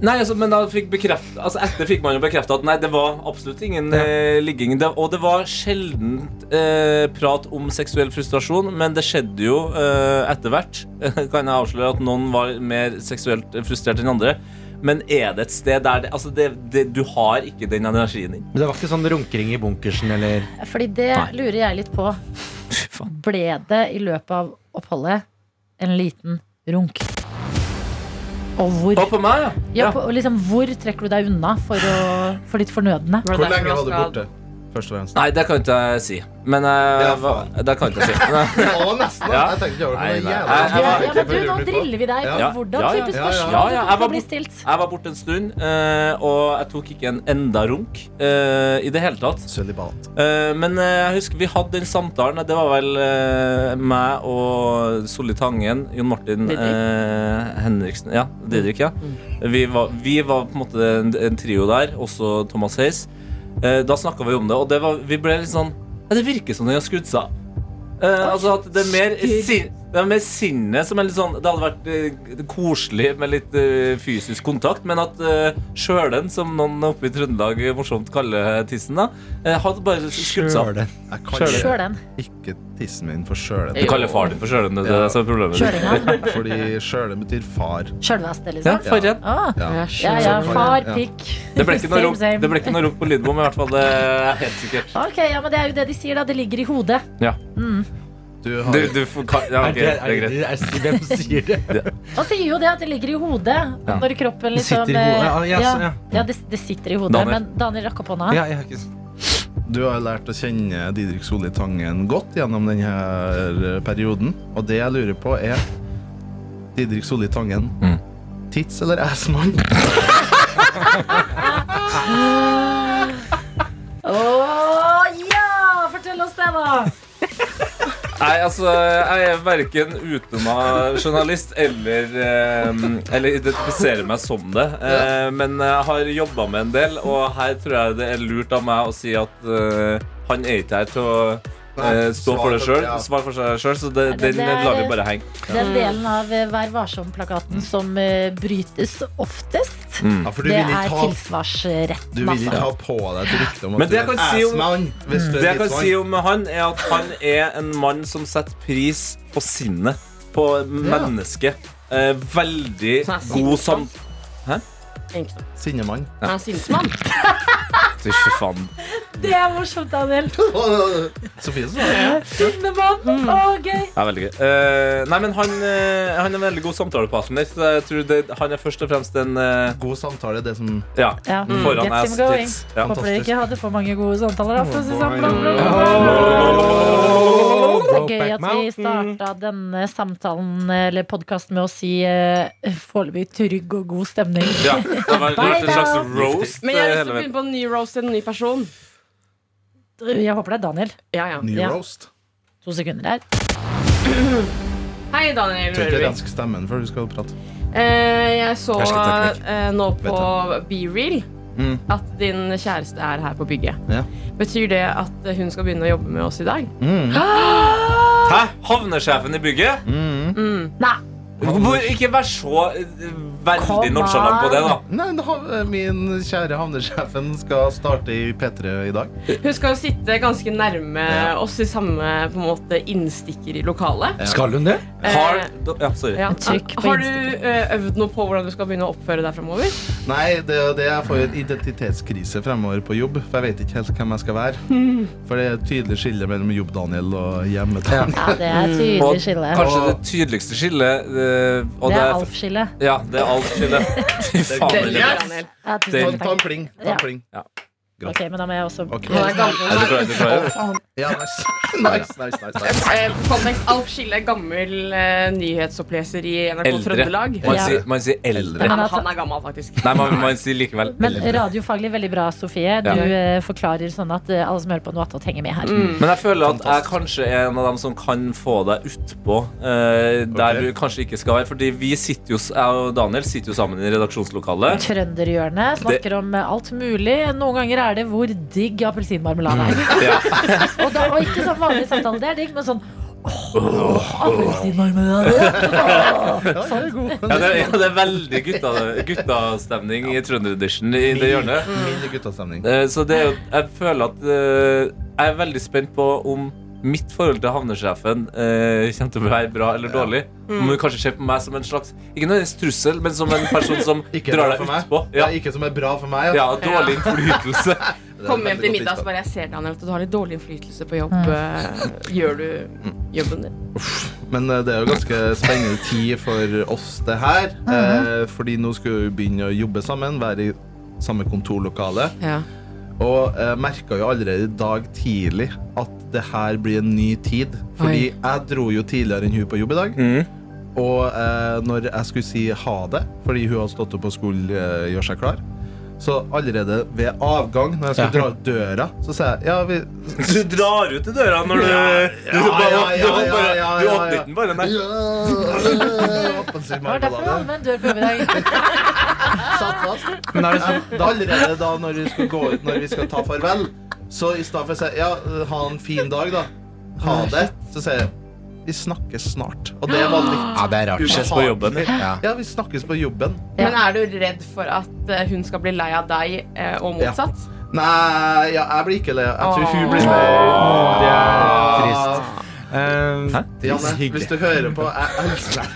Speaker 4: Nei, altså, men da fikk bekreft, altså, Etter fikk man jo bekrefta at nei, det var absolutt ingen eh, ligging. Det, og det var sjelden eh, prat om seksuell frustrasjon, men det skjedde jo eh, etter hvert. Kan jeg avsløre at noen var mer seksuelt eh, frustrert enn andre. Men er det et sted der det, altså det, det, du har ikke den energien din?
Speaker 6: Men det var ikke sånn runkering i bunkersen eller
Speaker 2: Fordi det
Speaker 4: Nei.
Speaker 2: lurer jeg litt på.
Speaker 4: faen.
Speaker 2: Ble det i løpet av oppholdet en liten runk? Og hvor,
Speaker 4: Og på meg, ja.
Speaker 2: ja, på, og liksom, hvor trekker du deg unna for, å, for ditt fornødne?
Speaker 5: Var det
Speaker 3: Hvor
Speaker 5: derfor
Speaker 3: lenge
Speaker 5: jeg
Speaker 3: var du
Speaker 5: skal-
Speaker 3: borte? Først og fremst.
Speaker 4: Nei, det kan ikke jeg si. Men eh,
Speaker 3: Ja, faen.
Speaker 4: hva- det kan ikke jeg si. Men, eh,
Speaker 3: Å, nesten. da.
Speaker 4: Ja.
Speaker 3: Jeg tenkte ikke over
Speaker 4: Nei,
Speaker 3: det. men
Speaker 4: nei.
Speaker 3: jævla-
Speaker 4: Jeg
Speaker 2: Ja,
Speaker 4: var-
Speaker 2: ja, men du, nå driller vi deg på
Speaker 4: Ja.
Speaker 2: hvordan
Speaker 4: Ja, ja.
Speaker 2: type
Speaker 3: Ja, ja.
Speaker 2: spørsmål
Speaker 4: Ja, ja,
Speaker 2: du
Speaker 4: jeg
Speaker 2: kommer
Speaker 4: var
Speaker 2: til å bli
Speaker 4: bort-
Speaker 2: stilt.
Speaker 4: jeg var borte en stund, eh, og jeg tok ikke en enda runk eh, i det hele tatt.
Speaker 3: Sølibat.
Speaker 4: Eh, men eh, jeg husker vi hadde den samtalen. Det var vel eh, meg og Solli Tangen, Jon Martin
Speaker 5: Didrik.
Speaker 4: eh, Henriksen Ja, Didrik, ja. Vi, var, vi var på en måte en, en trio der, også Thomas Hayes. Eh, da snakka vi om det, og det var, vi ble litt sånn ja, Det virker som den har skrudd seg av. Eh, altså at det er mer, sin, det er mer sinnet som er litt sånn Det hadde vært eh, koselig med litt eh, fysisk kontakt, men at eh, sjølen, som noen oppe i Trøndelag morsomt kaller tissen, da, eh, hadde bare skrudd seg av.
Speaker 6: Kjøle.
Speaker 3: Jeg kaller
Speaker 2: Sjøl den.
Speaker 3: ikke tissen min for sjølen.
Speaker 4: Du kaller faren din for sjølen, det, er det som er problemet. ditt.
Speaker 2: Kjøringa.
Speaker 3: Fordi sjølen betyr far.
Speaker 2: Sjølveste,
Speaker 4: Ja,
Speaker 2: liksom.
Speaker 4: faren.
Speaker 2: Ah,
Speaker 3: Ja.
Speaker 2: ja ja,
Speaker 3: Sånn,
Speaker 2: far,
Speaker 3: ja.
Speaker 2: pikk.
Speaker 4: Det ble ikke noe
Speaker 2: Same,
Speaker 4: rop,
Speaker 2: same.
Speaker 4: det ble ikke noe rop på lydbom, i hvert fall. Det er helt sikkert.
Speaker 2: Ok, ja, men Det er jo det de sier, da. Det ligger i hodet.
Speaker 3: Du har
Speaker 4: Du, du, får- ja, ok, det er greit.
Speaker 6: er- Hvem sier det?
Speaker 2: Man sier jo det at det ligger i hodet.
Speaker 4: Ja.
Speaker 2: Når kroppen
Speaker 6: Det
Speaker 2: liksom
Speaker 6: sitter i hodet. Ja,
Speaker 2: eh,
Speaker 6: ja, så-
Speaker 2: ja,
Speaker 6: ja.
Speaker 2: ja, det, det sitter i hodet.
Speaker 4: Daniel.
Speaker 2: Men Daniel rakk opp hånda.
Speaker 6: Ja, jeg har ikke
Speaker 3: Du har lært å kjenne Didrik Solli Tangen godt gjennom denne perioden. Og det jeg lurer på, er Didrik Solli Tangen.
Speaker 4: Mm.
Speaker 3: Tits eller assmann?
Speaker 2: Å ja! Fortell oss det, da!
Speaker 4: Nei, altså, jeg er verken utdanna journalist eller, eh, eller identifiserer meg som det. Eh, men jeg har jobba med en del, og her tror jeg det er lurt av meg å si at eh, han er ikke her til å eh, stå for det sjøl. Svar for seg sjøl, så det,
Speaker 2: Ja, det-
Speaker 4: den
Speaker 2: det er-
Speaker 4: lar vi bare henge.
Speaker 2: Den delen av eh, Vær varsom-plakaten som eh, brytes oftest,
Speaker 4: Mm.
Speaker 3: Ja, for du
Speaker 2: det
Speaker 3: vil ikke
Speaker 2: er
Speaker 3: ha, du
Speaker 2: tilsvarsretten,
Speaker 3: vil ikke
Speaker 2: altså.
Speaker 3: ha på deg et rykte om
Speaker 4: Men
Speaker 3: at du er en
Speaker 4: det jeg kan si om-
Speaker 3: assmann. hvis du er
Speaker 4: Det jeg kan
Speaker 3: titsmann.
Speaker 4: si om han, er at han er en mann som setter pris på sinnet. På mennesket. Eh, veldig
Speaker 5: Så han er
Speaker 4: god
Speaker 5: sinnsmann.
Speaker 4: sam...
Speaker 5: Tenk sånn.
Speaker 3: Sinnemann.
Speaker 5: Han er sinnsmann.
Speaker 4: Fy faen.
Speaker 2: Det er morsomt, Daniel.
Speaker 3: Sofie sa det.
Speaker 2: Sinnemann. Å, gøy.
Speaker 4: Ja, veldig gøy. Eh, nei, men han, eh, han er en veldig god samtalepartner. Så jeg tror det, han er først og fremst en eh,
Speaker 3: God samtale, det som
Speaker 4: Ja,
Speaker 2: Ja,
Speaker 3: Mm.
Speaker 4: foran
Speaker 2: Mm, get
Speaker 4: ass
Speaker 2: him going.
Speaker 4: tits. Ja.
Speaker 2: Håper dere ikke hadde for mange gode samtaler. Da, for å si sånn. Bla, bla, bla. Det er gøy at vi starta denne samtalen eller podkasten med å si eh, foreløpig trygg og god stemning.
Speaker 4: Ja, det var litt en slags roast.
Speaker 5: Men
Speaker 4: eh,
Speaker 5: jeg liksom har lyst til
Speaker 4: hele
Speaker 5: å
Speaker 4: veien.
Speaker 5: begynne på en ny roast til en ny person.
Speaker 2: Jeg håper det er Daniel.
Speaker 5: Ja, ja.
Speaker 3: New
Speaker 2: Ja.
Speaker 3: roast.
Speaker 2: To sekunder her.
Speaker 5: Hei, Daniel
Speaker 3: Tør ikke
Speaker 5: Rørvik.
Speaker 3: renske stemmen før du skal prate.
Speaker 5: Eh, jeg så
Speaker 6: Jeg sliter teknikk.
Speaker 5: eh, nå på
Speaker 3: Vet
Speaker 5: BeReal
Speaker 3: Mm.
Speaker 5: at din kjæreste er her på bygget.
Speaker 3: Ja. Mm.
Speaker 5: Betyr det at eh, hun skal begynne å jobbe med oss i dag?
Speaker 4: Hæ? Havnesjefen i bygget?
Speaker 5: Mm.
Speaker 2: Nei.
Speaker 4: Hvor, ikke vær så eh,
Speaker 2: Kom
Speaker 4: veldig nonchalant på det, da.
Speaker 3: Nei, da, eh, min kjære havnesjefen skal starte i P3 i dag.
Speaker 5: Hun skal jo sitte ganske nærme
Speaker 3: Ja.
Speaker 5: oss i samme på en måte innstikker i lokalet.
Speaker 6: Skal hun det?
Speaker 5: Eh,
Speaker 4: Har, ja, sorry.
Speaker 5: Ja.
Speaker 2: Trykk på
Speaker 5: Har du
Speaker 2: innstikker.
Speaker 5: eh, øvd noe på hvordan du skal begynne å oppføre deg framover?
Speaker 3: Nei, det er jo det jeg får jo en identitetskrise fremover på jobb. For jeg vet ikke helt hvem jeg skal være. For det er et tydelig skille mellom jobb-Daniel og hjemme-Daniel.
Speaker 2: Ja, det er et
Speaker 4: Og
Speaker 3: Mm.
Speaker 2: tydelig skille.
Speaker 4: kanskje det tydeligste skillet eh, og
Speaker 2: Det er
Speaker 4: det,
Speaker 2: Alf-skille.
Speaker 4: Ja, det er Alf-skillet. Fy faen.
Speaker 5: Det
Speaker 3: er lett.
Speaker 4: Emilie.
Speaker 5: liker Daniel.
Speaker 2: Ja,
Speaker 4: Den-
Speaker 2: tusen
Speaker 3: Ta en
Speaker 2: takk.
Speaker 3: pling. Ta
Speaker 2: Ja.
Speaker 3: en pling.
Speaker 2: Ok, men da må jeg også
Speaker 3: Ok.
Speaker 5: Han er
Speaker 4: Nei,
Speaker 5: gammel.
Speaker 4: du klarer- du klarer det.
Speaker 3: Ja, nice. nice, nice, nice, nice.
Speaker 5: Eh, Kontekst Alf Skille er gammel eh, nyhetsoppleser i NRK
Speaker 4: Eldre.
Speaker 5: Trøndelag.
Speaker 4: Man
Speaker 2: Ja.
Speaker 4: sier, man sier eldre.
Speaker 2: Men
Speaker 5: Ja, men
Speaker 2: at-
Speaker 5: han er gammel, faktisk.
Speaker 4: Nei, man, man sier likevel
Speaker 2: Men
Speaker 4: eldre.
Speaker 2: radiofaglig veldig bra, Sofie. Du
Speaker 4: Ja. Mm.
Speaker 2: eh, forklarer sånn at eh, alle som hører på noe attåt, henger med her.
Speaker 4: Men jeg føler at jeg kanskje er en av dem som kan få deg utpå eh, der
Speaker 3: Ok.
Speaker 4: du kanskje ikke skal være. Fordi vi sitter jo, s- jeg og Daniel sitter jo sammen i redaksjonslokalet.
Speaker 2: Trønderhjørnet snakker om eh, alt mulig. Noen ganger er det 'hvor digg appelsinmarmelade er'.
Speaker 4: Ja.
Speaker 2: Og, da, og ikke sånn vanlig samtale, det er digg, men sånn Åh, appelsinmarmelade!
Speaker 3: Ja, det er god.
Speaker 4: Ja, det, er- ja, det er veldig gutta- guttastemning i Trønderedition i det hjørnet.
Speaker 3: Min guttastemning.
Speaker 4: Eh, Så det er jo Jeg føler at eh, Jeg er veldig spent på om mitt forhold til havnesjefen eh, kommer til å være bra eller dårlig. Om hun kanskje ser på meg som en slags Ikke nødvendigvis trussel, men som en person som
Speaker 3: Ikke bra
Speaker 4: drar deg
Speaker 3: for meg.
Speaker 4: utpå.
Speaker 3: Ja,
Speaker 4: Ja,
Speaker 3: ikke som er bra for meg.
Speaker 4: ja, dårlig innflytelse.
Speaker 5: Kom hjem til middag og bare jeg ser Daniel, at du har litt dårlig innflytelse på jobb. Eh, Gjør du
Speaker 6: Mm.
Speaker 5: jobben din?
Speaker 3: Men eh, det er jo ganske spennende tid for oss, det her.
Speaker 2: Mhm.
Speaker 3: eh, Fordi nå skal vi begynne å jobbe sammen, være i samme kontorlokale.
Speaker 5: Ja.
Speaker 3: Og jeg merka jo allerede i dag tidlig at det her blir en ny tid. Fordi jeg dro jo tidligere enn hun på jobb i dag.
Speaker 4: Mm.
Speaker 3: Og eh, når jeg skulle si ha det, fordi hun hadde stått opp og skulle eh, gjøre seg klar Så allerede ved avgang, når jeg skulle dra ut døra, så sa jeg ja, vi
Speaker 4: Du drar ut i døra når du Du
Speaker 3: ja,
Speaker 4: bare-
Speaker 3: ja, ja,
Speaker 4: du bare-
Speaker 3: ja, ja,
Speaker 4: du
Speaker 3: ja,
Speaker 4: åpner
Speaker 3: ja.
Speaker 4: den bare, nei.
Speaker 2: Det var derfor du hadde med en dør på hodet i dag.
Speaker 3: Satt fast.
Speaker 6: Men er det sånn?
Speaker 3: Da allerede da når vi skal gå ut, når vi skal ta farvel, så i stedet for å si ja, ha en fin dag, da, ha det, så sier jeg vi snakkes snart. Og det var litt
Speaker 6: Ja, det er rart.
Speaker 4: Ses på jobben.
Speaker 6: Ja.
Speaker 3: Ja, vi snakkes på jobben.
Speaker 2: Ja.
Speaker 5: Men er du redd for at eh, hun skal bli lei av deg, eh, og
Speaker 3: Ja.
Speaker 5: motsatt?
Speaker 3: Nei, ja, jeg blir ikke det. Jeg tror hun blir
Speaker 6: Åh, det er trist.
Speaker 3: Ah,
Speaker 6: Eh,
Speaker 3: Janne, hvis du hører på, jeg elsker deg.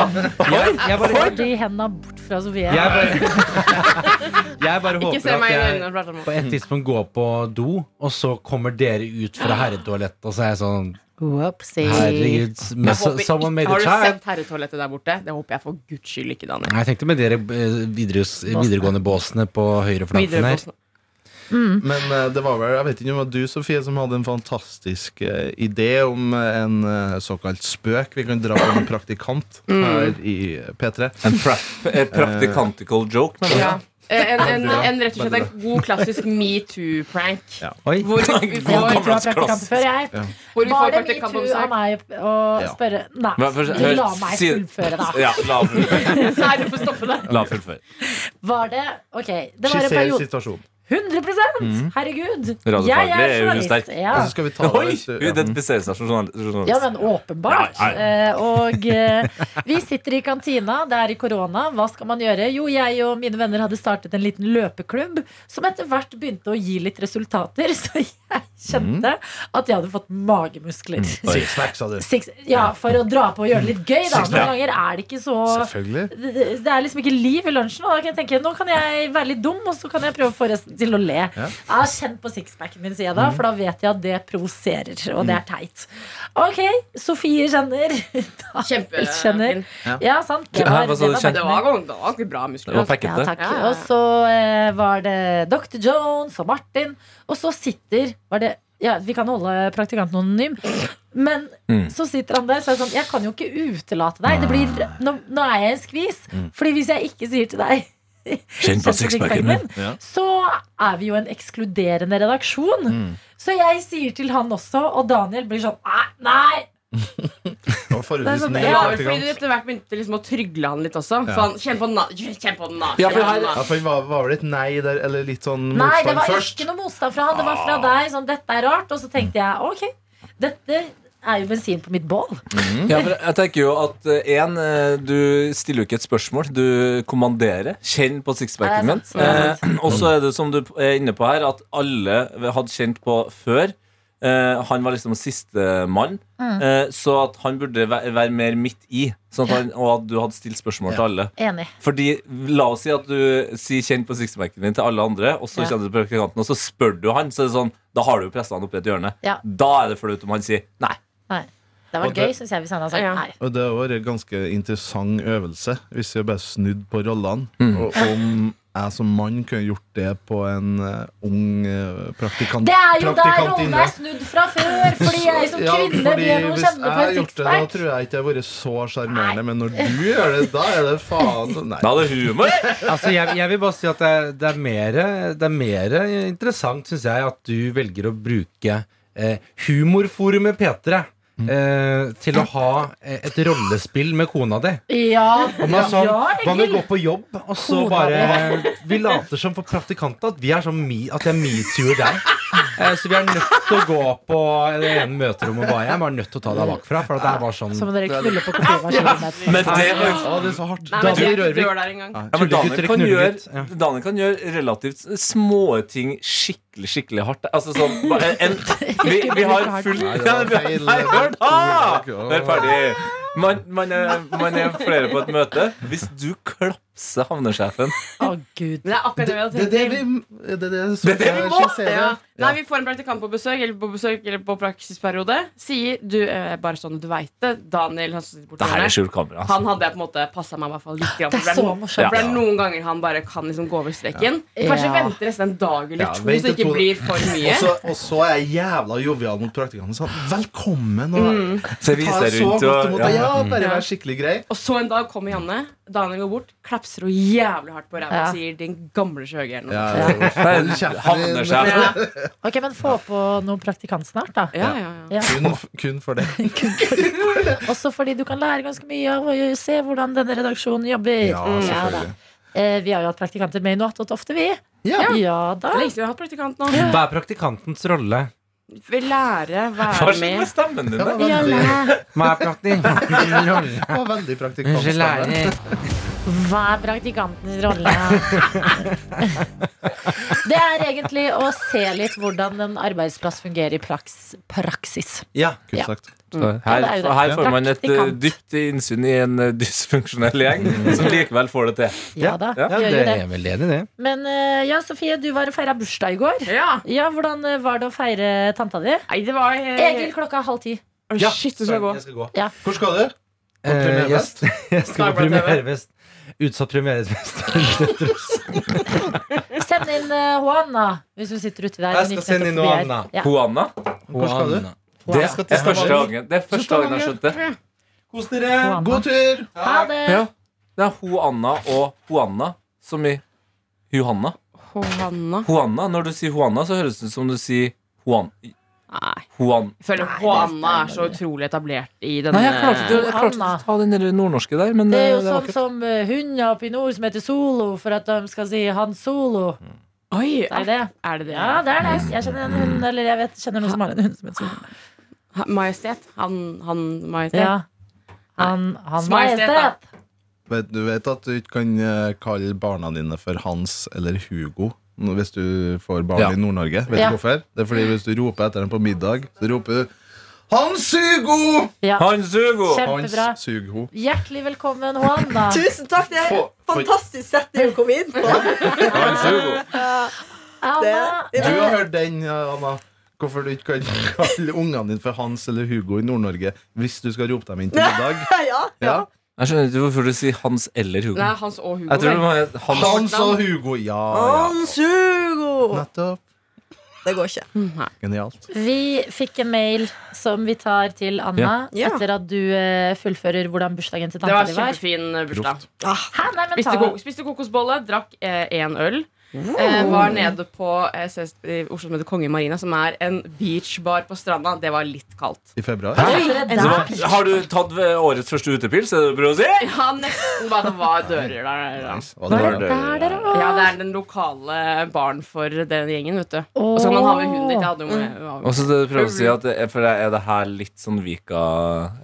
Speaker 6: jeg, jeg bare,
Speaker 2: Får de hendene bort fra Sofie.
Speaker 6: jeg bare, jeg bare
Speaker 5: Ikke se
Speaker 6: håper at
Speaker 5: meg i øynene
Speaker 6: jeg
Speaker 5: og prate om
Speaker 6: på et tidspunkt går på do, og så kommer dere ut fra herretoalettet, og så er jeg sånn
Speaker 2: Whoopsie.
Speaker 6: Herregud, men so-
Speaker 5: det.
Speaker 6: someone made a
Speaker 5: Har du
Speaker 6: child.
Speaker 5: sett herretoalettet der borte? Det håper jeg for guds skyld ikke, Daniel.
Speaker 6: Nei, Jeg tenkte med dere eh, videre, videregående båsene på høyre flanken
Speaker 5: Videre
Speaker 6: her.
Speaker 5: på sn-
Speaker 2: Mm.
Speaker 3: Men eh, det var vel, jeg vet ikke om det var du, Sofie, som hadde en fantastisk eh, idé om eh, en eh, såkalt spøk. Vi kan dra på en praktikant her i P3.
Speaker 4: En pra- eh, practical joke, men
Speaker 5: Ja. Eh, En, en,
Speaker 3: Veldig bra.
Speaker 5: en rett og slett en god klassisk metoo-prank.
Speaker 6: Oi,
Speaker 5: Hvor vi får,
Speaker 2: Jeg tror jeg har praktikant før, jeg.
Speaker 5: hvor vi
Speaker 2: Var
Speaker 5: får
Speaker 2: det
Speaker 5: praktikant
Speaker 2: metoo
Speaker 5: om seg.
Speaker 2: av meg å
Speaker 3: Ja.
Speaker 2: spørre Nei,
Speaker 4: Hva- for-
Speaker 2: du la
Speaker 4: hør,
Speaker 2: meg
Speaker 4: si-
Speaker 2: fullføre, da.
Speaker 4: Ja, la fullføre.
Speaker 5: Nei, du får stoppe det.
Speaker 4: La fullføre.
Speaker 2: Var det OK, det var en
Speaker 3: Skisser
Speaker 2: periode
Speaker 3: situasjonen.
Speaker 2: 100 Herregud!
Speaker 4: Radiofaglig
Speaker 2: Jeg er
Speaker 4: Mm. er jo
Speaker 2: journalist.
Speaker 4: sterk.
Speaker 2: Ja.
Speaker 3: Og så skal vi ta
Speaker 4: Oi!
Speaker 3: det hvis du-
Speaker 4: Hun identifiserer seg som sånn- journal-
Speaker 2: Ja, men
Speaker 4: journalist.
Speaker 2: åpenbart.
Speaker 4: Ja,
Speaker 2: Eh, og eh, vi sitter i kantina, det er i korona. Hva skal man gjøre? Jo, jeg og mine venner hadde startet en liten løpeklubb som etter hvert begynte å gi litt resultater. Så jeg
Speaker 4: Mm.
Speaker 2: kjente at jeg hadde fått magemuskler.
Speaker 3: Sixpack, sa du.
Speaker 2: Six, ja, for å dra på og gjøre det litt gøy, da. Noen ganger er det ikke så
Speaker 3: Selvfølgelig.
Speaker 2: det det er liksom ikke liv i lunsjen. Og da kan jeg tenke, nå kan jeg være litt dum, og så kan jeg prøve å få resten til å le. Ja. Kjenn på sixpacken min, sier jeg
Speaker 4: Mm.
Speaker 2: da, for da vet jeg at det provoserer, og det er teit. Ok, Sofie kjenner. Kjempe.
Speaker 5: Kjempefin.
Speaker 3: Ja.
Speaker 2: Ja, sant. Det
Speaker 4: Hæ,
Speaker 2: var,
Speaker 4: hva
Speaker 2: det
Speaker 4: sa du,
Speaker 2: var
Speaker 4: kjenner?
Speaker 5: Det var, det var ikke bra muskler.
Speaker 4: Det var
Speaker 2: ja,
Speaker 4: packete.
Speaker 2: takk.
Speaker 5: Ja, ja.
Speaker 2: Og så eh, var det Dr. Jones og Martin. Og så sitter var det, ja, Vi kan holde praktikanten anonym. Men
Speaker 4: Mm.
Speaker 2: så sitter han der, så er det sånn Jeg kan jo ikke utelate deg. Det blir, nå, nå er jeg i en skvis. Fordi hvis jeg ikke sier til deg
Speaker 4: Kjenn på Mm. sixpacken min. Ja.
Speaker 2: så er vi jo en ekskluderende
Speaker 4: Mm.
Speaker 2: redaksjon. Så jeg sier til han også, og Daniel blir sånn Nei! nei
Speaker 3: forholdsvis ny.
Speaker 5: Ja,
Speaker 3: i
Speaker 5: vel, fordi du
Speaker 3: etterkant.
Speaker 5: etter hvert begynte liksom å trygle han litt også.
Speaker 3: Ja.
Speaker 5: Så han, kjenn på den, da. Kjenn på den, da.
Speaker 4: Ja, for her-
Speaker 5: Kjenn på den,
Speaker 3: Ja,
Speaker 5: da.
Speaker 3: for det var, var vel et nei der, eller litt sånn
Speaker 2: Nei, det
Speaker 3: motstand
Speaker 2: var
Speaker 3: først?
Speaker 2: ikke noe motstand fra han. Det var
Speaker 4: Ah.
Speaker 2: fra deg. Sånn, dette er rart. Og så tenkte jeg ok, dette er jo bensin på mitt bål.
Speaker 4: Ja, for jeg tenker jo at én, du stiller jo ikke et spørsmål. Du kommanderer. Kjenn på sixpacken
Speaker 2: Ja,
Speaker 4: min.
Speaker 2: det er sant. Det er
Speaker 4: Eh, og så er det som du er inne på her, at alle hadde kjent på før. Eh, han var liksom sistemann,
Speaker 2: Mm.
Speaker 4: eh, så at han burde væ- være mer midt i. Sånn at han, og at du hadde stilt spørsmål til alle.
Speaker 2: Enig.
Speaker 4: Fordi La oss si at du sier 'kjenn på sixpacken din' til alle andre, og så
Speaker 2: Ja.
Speaker 4: kjenner du praktikanten, og så spør du han, så er det sånn, da har du jo pressa han oppi et hjørne.
Speaker 2: Ja.
Speaker 4: Da er det flaut om han sier nei.
Speaker 2: Nei. Det var
Speaker 3: Og det-
Speaker 2: gøy, syns jeg, hvis han hadde sagt
Speaker 5: Ja.
Speaker 2: nei.
Speaker 3: Og det var en ganske interessant øvelse, hvis vi bare snudd på rollene.
Speaker 4: Mm.
Speaker 3: Og om jeg som mann kunne gjort det på en eh, ung eh, praktikant
Speaker 2: Det er jo der rollen
Speaker 3: praktikantinne.
Speaker 2: er snudd fra før! Fordi jeg som
Speaker 3: Ja,
Speaker 2: kvinne
Speaker 3: fordi
Speaker 2: blir noe
Speaker 3: hvis
Speaker 2: kjenne på
Speaker 3: jeg
Speaker 2: en
Speaker 3: hadde gjort det, da
Speaker 2: sixpack.
Speaker 3: tror jeg ikke jeg hadde vært så sjarmerende. Men når du gjør det, da er det faen Nei.
Speaker 4: Da er det humor!
Speaker 6: Altså, jeg, jeg vil bare si at det er, det er, mer, det er mer interessant, syns jeg, at du velger å bruke eh, humorforumet P3 eh, til å ha eh, et rollespill med kona di.
Speaker 2: Ja,
Speaker 6: Og man er sånn,
Speaker 2: ja,
Speaker 6: man vil
Speaker 2: Egil.
Speaker 6: gå på jobb, og så
Speaker 2: Kona
Speaker 6: bare Vi later som for praktikanter at, vi er sånn me, at jeg metoo-er deg. Eh, Så vi er nødt til å gå på det ene møterommet bare. Jeg er bare nødt til å ta deg bakfra. For at det er bare sånn
Speaker 2: Så må dere knulle på kopimaskinen.
Speaker 4: Men det var
Speaker 3: Å, det er så hardt.
Speaker 5: Nei, men
Speaker 6: Daniel
Speaker 5: jeg er ikke
Speaker 6: Rørvik.
Speaker 5: dør der engang.
Speaker 4: Ja, men Daniel
Speaker 6: Tullegutter
Speaker 4: kan,
Speaker 6: knuller
Speaker 4: gjøre,
Speaker 6: litt, ja.
Speaker 4: Daniel kan gjøre relativt små ting skikkelig, skikkelig hardt. Altså sånn bare en, vi, vi har full
Speaker 3: Nei, det
Speaker 4: Ja,
Speaker 3: var
Speaker 4: vi-
Speaker 3: feil. eh,
Speaker 4: Nei, hør da! Vi er
Speaker 3: Ja.
Speaker 4: ferdig. Man, man, er, man er flere på et møte. Hvis du klapser havnesjefen
Speaker 2: Å, gud.
Speaker 5: Men det er akkurat det vi hadde
Speaker 3: Det er det
Speaker 5: tenkt.
Speaker 3: vi Det er det, som
Speaker 4: Det er det vi
Speaker 3: jeg
Speaker 4: må.
Speaker 3: skisserer.
Speaker 5: Ja. Nei, vi får en praktikant på besøk Eller på besøk Eller på praksisperiode Sier du eh, Bare sånn du vet det Daniel Han som sitter borte
Speaker 4: Det her er
Speaker 5: hjemme,
Speaker 4: skjult kamera. altså.
Speaker 5: Han hadde jeg på en måte Passet meg i hvert fall litt grann,
Speaker 2: Det
Speaker 5: for
Speaker 2: er så
Speaker 5: no-
Speaker 2: morsomt.
Speaker 5: For det er noen ganger Han bare kan liksom gå over streken
Speaker 2: Ja.
Speaker 5: Kanskje
Speaker 2: Ja.
Speaker 5: vente nesten en dag eller
Speaker 3: Ja,
Speaker 5: to
Speaker 3: vente
Speaker 5: Så det ikke
Speaker 3: to-
Speaker 5: blir for
Speaker 3: Og
Speaker 5: mye
Speaker 3: så, og så er jeg jævla jovial mot praktikanten. Sånn, velkommen! Og,
Speaker 5: Mm.
Speaker 4: Så jeg
Speaker 3: Ta
Speaker 4: viser
Speaker 3: så
Speaker 4: rundt
Speaker 3: godt
Speaker 4: og
Speaker 3: imot deg.
Speaker 4: ja.
Speaker 3: Ja, bare
Speaker 5: Ja.
Speaker 3: vær skikkelig grei.
Speaker 5: Og så en dag kommer Janne Daniel går bort Klapser henne jævlig hardt på ræva
Speaker 2: Ja.
Speaker 5: Og Sier din gamle sjøgeren
Speaker 3: Ja,
Speaker 5: ja.
Speaker 3: hold kjeften din.
Speaker 4: Havnesjefen.
Speaker 5: Ja.
Speaker 2: Ok, men få på noe praktikant snart, da.
Speaker 5: ja, ja, ja.
Speaker 3: Kun, kun for det.
Speaker 2: Også fordi du kan lære ganske mye av å se hvordan denne redaksjonen jobber.
Speaker 3: Ja, selvfølgelig.
Speaker 2: da. Eh, vi har jo hatt praktikanter med i noe attåt ofte, vi.
Speaker 3: Ja.
Speaker 2: Ja da.
Speaker 5: Det er lenge siden vi har hatt praktikant nå
Speaker 6: Hva er praktikantens rolle?
Speaker 5: Vi lærer
Speaker 4: Hva
Speaker 5: Være
Speaker 4: skjer med
Speaker 5: med
Speaker 4: stemmen din?
Speaker 3: Det
Speaker 4: da?
Speaker 3: var veldig,
Speaker 6: Hva er praktikantens rolle?
Speaker 3: det var veldig
Speaker 6: Unnskyld,
Speaker 3: praktikantstemme.
Speaker 6: lærer.
Speaker 2: Hva er praktikantens rolle? Det er egentlig å se litt hvordan en arbeidsplass fungerer i praks praksis.
Speaker 6: Ja.
Speaker 3: Kult sagt.
Speaker 4: Her,
Speaker 2: Ja, det er jo det.
Speaker 4: her får man et eh,
Speaker 2: Praktikant.
Speaker 4: dypt innsyn i en eh, dysfunksjonell gjeng som likevel får det til.
Speaker 2: Ja da,
Speaker 4: Ja,
Speaker 6: Ja,
Speaker 2: gjør
Speaker 6: det
Speaker 2: jo det.
Speaker 6: er jeg veldig enig i, det.
Speaker 2: Men eh, ja, Sofie, du var og feira bursdag i går.
Speaker 5: Ja
Speaker 2: Ja, Hvordan eh, var det å feire tanta di?
Speaker 5: Nei, det var eh,
Speaker 2: Egil, klokka er halv ti.
Speaker 5: Å,
Speaker 6: Ja,
Speaker 5: Shit, du
Speaker 6: sorry,
Speaker 5: skal gå
Speaker 6: jeg skal gå.
Speaker 2: Ja.
Speaker 3: Hvor skal du?
Speaker 6: Eh, jeg,
Speaker 3: premierefest?
Speaker 6: jeg skal på
Speaker 5: Dagblad TV.
Speaker 6: premierefest. Utsatt premierefest.
Speaker 2: Send inn eh, Juana hvis du sitter uti der.
Speaker 6: Jeg
Speaker 2: Hun gikk
Speaker 6: skal sende
Speaker 2: nettopp
Speaker 6: inn
Speaker 2: forbi her. Ja.
Speaker 6: Juana.
Speaker 4: Hoanna?
Speaker 3: Hvor skal du?
Speaker 6: Juana.
Speaker 4: Det
Speaker 6: Jeg skal til
Speaker 4: er første
Speaker 6: Stavanger.
Speaker 4: gangen Det er første gangen jeg har skjønt det.
Speaker 6: Kos dere!
Speaker 2: Juana.
Speaker 3: God tur!
Speaker 2: Ha det.
Speaker 4: Ja. Det er Hoanna og Hoanna, som i Johanna.
Speaker 5: Håvanna
Speaker 4: Hoanna. Når du sier Hoanna, så høres det ut som du sier Hoan...
Speaker 5: Nei
Speaker 4: Hoan...
Speaker 5: Jeg føler Håanna er så utrolig etablert i denne
Speaker 4: Nei, jeg klarte ikke jeg klarte ikke å ta den der nordnorske der, men
Speaker 2: Det er jo
Speaker 4: eh,
Speaker 2: sånn
Speaker 4: ikke-
Speaker 2: som eh, hunder oppe i nord som heter Solo, for at de skal si Han Solo.
Speaker 5: Oi,
Speaker 2: Det er det.
Speaker 5: er det det?
Speaker 2: Ja, det er det. Jeg kjenner en hund, eller jeg vet, kjenner noen som har en hund som heter Solo.
Speaker 5: Ha- Majestet? Han, han majestet?
Speaker 2: Ja. Han, han
Speaker 5: Majestet, da.
Speaker 2: majestet.
Speaker 3: Vet, du vet at du ikke kan eh, kalle barna dine for Hans eller Hugo nå- hvis du får barn
Speaker 4: Ja.
Speaker 3: i Nord-Norge. Vet
Speaker 2: Ja.
Speaker 3: du hvorfor? Det er fordi hvis du roper etter dem på middag, så roper du Hans Hugo!
Speaker 2: Ja.
Speaker 4: Hans Hugo!
Speaker 3: Hans
Speaker 2: Kjempebra.
Speaker 3: Sugho.
Speaker 2: Hjertelig velkommen, Juana.
Speaker 7: Tusen takk, det er
Speaker 3: For-
Speaker 7: en
Speaker 3: for-
Speaker 7: fantastisk setning å komme inn på.
Speaker 4: Hans Hugo.
Speaker 2: Anna,
Speaker 7: Det-
Speaker 3: Du
Speaker 2: eh,
Speaker 3: har hørt den, ja, Anna. Hvorfor du ikke kan kalle ungene dine for Hans eller Hugo i Nord-Norge hvis du skal rope dem inn til middag?
Speaker 7: Ja,
Speaker 3: Ja.
Speaker 4: Jeg skjønner ikke hvorfor du sier Hans eller Hugo.
Speaker 5: Nei, Hans og Hugo.
Speaker 4: Jeg tror det
Speaker 5: vel?
Speaker 4: må hete Hans.
Speaker 3: Hans og Hugo, ja. ja.
Speaker 7: Hans Hugo!
Speaker 3: Nettopp.
Speaker 7: Det går ikke.
Speaker 3: Genialt.
Speaker 2: vi fikk en mail som vi tar til Anna
Speaker 7: Ja. Ja.
Speaker 2: etter at du eh, fullfører hvordan bursdagen til
Speaker 5: Det
Speaker 2: tanta
Speaker 5: var
Speaker 2: di var.
Speaker 5: kjempefin eh, bursdag.
Speaker 7: Ah,
Speaker 2: Hæ, nei, men
Speaker 5: Spiste,
Speaker 2: ta
Speaker 5: ko spiste kokosbolle, drakk én øl.
Speaker 4: Oh.
Speaker 5: Eh, var nede på eh, ses- i Oslo som heter Kongen Marina, som er en beachbar på stranda. Det var litt kaldt.
Speaker 3: I februar?
Speaker 2: Allerede
Speaker 4: Så,
Speaker 2: der.
Speaker 4: hva- har du tatt ved årets første utepils? Er det det du prøver å si?
Speaker 5: Ja, nesten bare det var dører der. da.
Speaker 3: Nice.
Speaker 2: Hva
Speaker 3: Hva det
Speaker 2: er
Speaker 3: var
Speaker 2: det
Speaker 3: det?
Speaker 2: der dere har?
Speaker 5: Ja, det er den lokale baren for den gjengen, vet du. Og så kan man ha med hunden ditt. Jeg hadde jo med,
Speaker 4: Og så det du prøver å si at det er, for er det her litt sånn Vika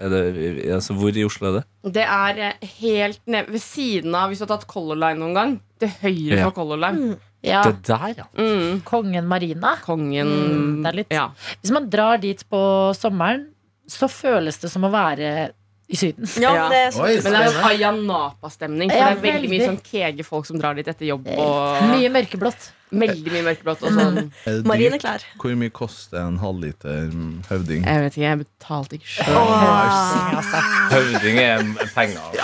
Speaker 4: er det, altså Hvor i Oslo er det?
Speaker 5: Det er eh, helt ned ved siden av Hvis du har tatt Color Line noen gang Til høyre
Speaker 4: Ja.
Speaker 5: for Color Line
Speaker 2: Ja,
Speaker 4: Det der, ja.
Speaker 5: mm.
Speaker 2: Kongen Marina.
Speaker 5: Kongen
Speaker 2: Mm, det er litt-
Speaker 5: ja.
Speaker 2: Hvis man drar dit på sommeren, så føles det som å være i Syden.
Speaker 5: Ja.
Speaker 7: Ja, men det
Speaker 3: Oi,
Speaker 7: er sånn
Speaker 5: Men det er en Ayanapa-stemning For
Speaker 2: Ja,
Speaker 5: det er veldig mye
Speaker 2: veldig.
Speaker 5: sånn kege folk som drar dit etter jobb Og
Speaker 2: Mye mørkeblått.
Speaker 5: veldig mye mørkeblått og sånn
Speaker 3: Er det dyrt?
Speaker 7: marine klær.
Speaker 3: Hvor mye koster en halvliter mm, høvding?
Speaker 5: Jeg vet ikke, jeg betalte ikke selv
Speaker 4: Høvding er penger.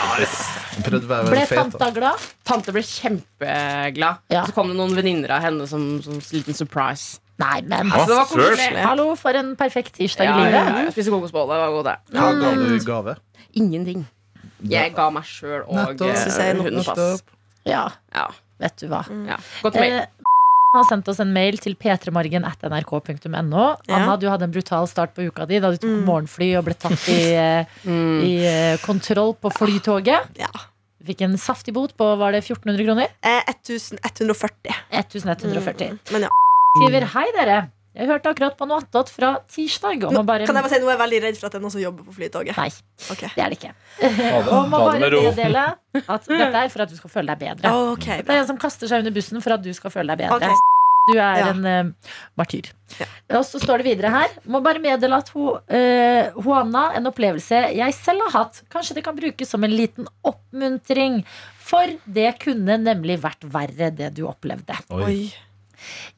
Speaker 3: Prøvde å være
Speaker 2: Ble
Speaker 3: veldig fet, da.
Speaker 2: tanta glad?
Speaker 5: Tante ble kjempeglad
Speaker 2: Ja.
Speaker 5: Så kom det noen venninner av henne som, som liten surprise
Speaker 2: Nei, men
Speaker 5: Så det var koselig ja,
Speaker 2: hallo, for en perfekt tirsdag i
Speaker 5: ja,
Speaker 2: livet.
Speaker 5: ja. Jeg spiste kokosbolle, det var god det
Speaker 3: Hva ga du i gave?
Speaker 5: Ingenting Jeg ga meg selv og
Speaker 3: Nettopp.
Speaker 5: eh,
Speaker 7: Synes jeg er nok-
Speaker 5: hunden pass
Speaker 2: Ja,
Speaker 5: Ja,
Speaker 2: vet du hva.
Speaker 5: ja. Godt mail
Speaker 2: Eh, har sendt oss en mail til p3morgen.nrk.no. Anna, du hadde en brutal start på uka di da du tok
Speaker 7: Mm.
Speaker 2: morgenfly og ble tatt i, eh, i eh, kontroll på flytoget.
Speaker 7: Ja.
Speaker 2: Fikk en saftig bot på var det 1400 kroner?
Speaker 7: Eh, 1140.
Speaker 2: 1140.
Speaker 7: Mm. Men ja. Mm.
Speaker 2: Skriver hei, dere. Jeg hørte akkurat på noe attåt fra tirsdag om
Speaker 7: Nå,
Speaker 2: å bare
Speaker 7: Kan jeg bare si, nå er jeg veldig redd for at det er noen som jobber på Flytoget.
Speaker 2: Nei,
Speaker 7: Ok,
Speaker 2: det er det ikke.
Speaker 4: Ta det,
Speaker 2: Om å
Speaker 4: ta det
Speaker 2: bare
Speaker 4: med ro.
Speaker 2: meddele at dette er for at du skal føle deg bedre.
Speaker 7: Ok,
Speaker 2: Det
Speaker 7: bra.
Speaker 2: er en som kaster seg under bussen for at du skal føle deg bedre.
Speaker 7: Ok.
Speaker 2: Du er
Speaker 7: Ja.
Speaker 2: en eh, martyr. Og så står det videre her. Må bare meddele at ho, eh, Juana, en opplevelse jeg selv har hatt, kanskje det kan brukes som en liten oppmuntring. For det kunne nemlig vært verre, det du opplevde.
Speaker 3: Oi.
Speaker 7: Oi.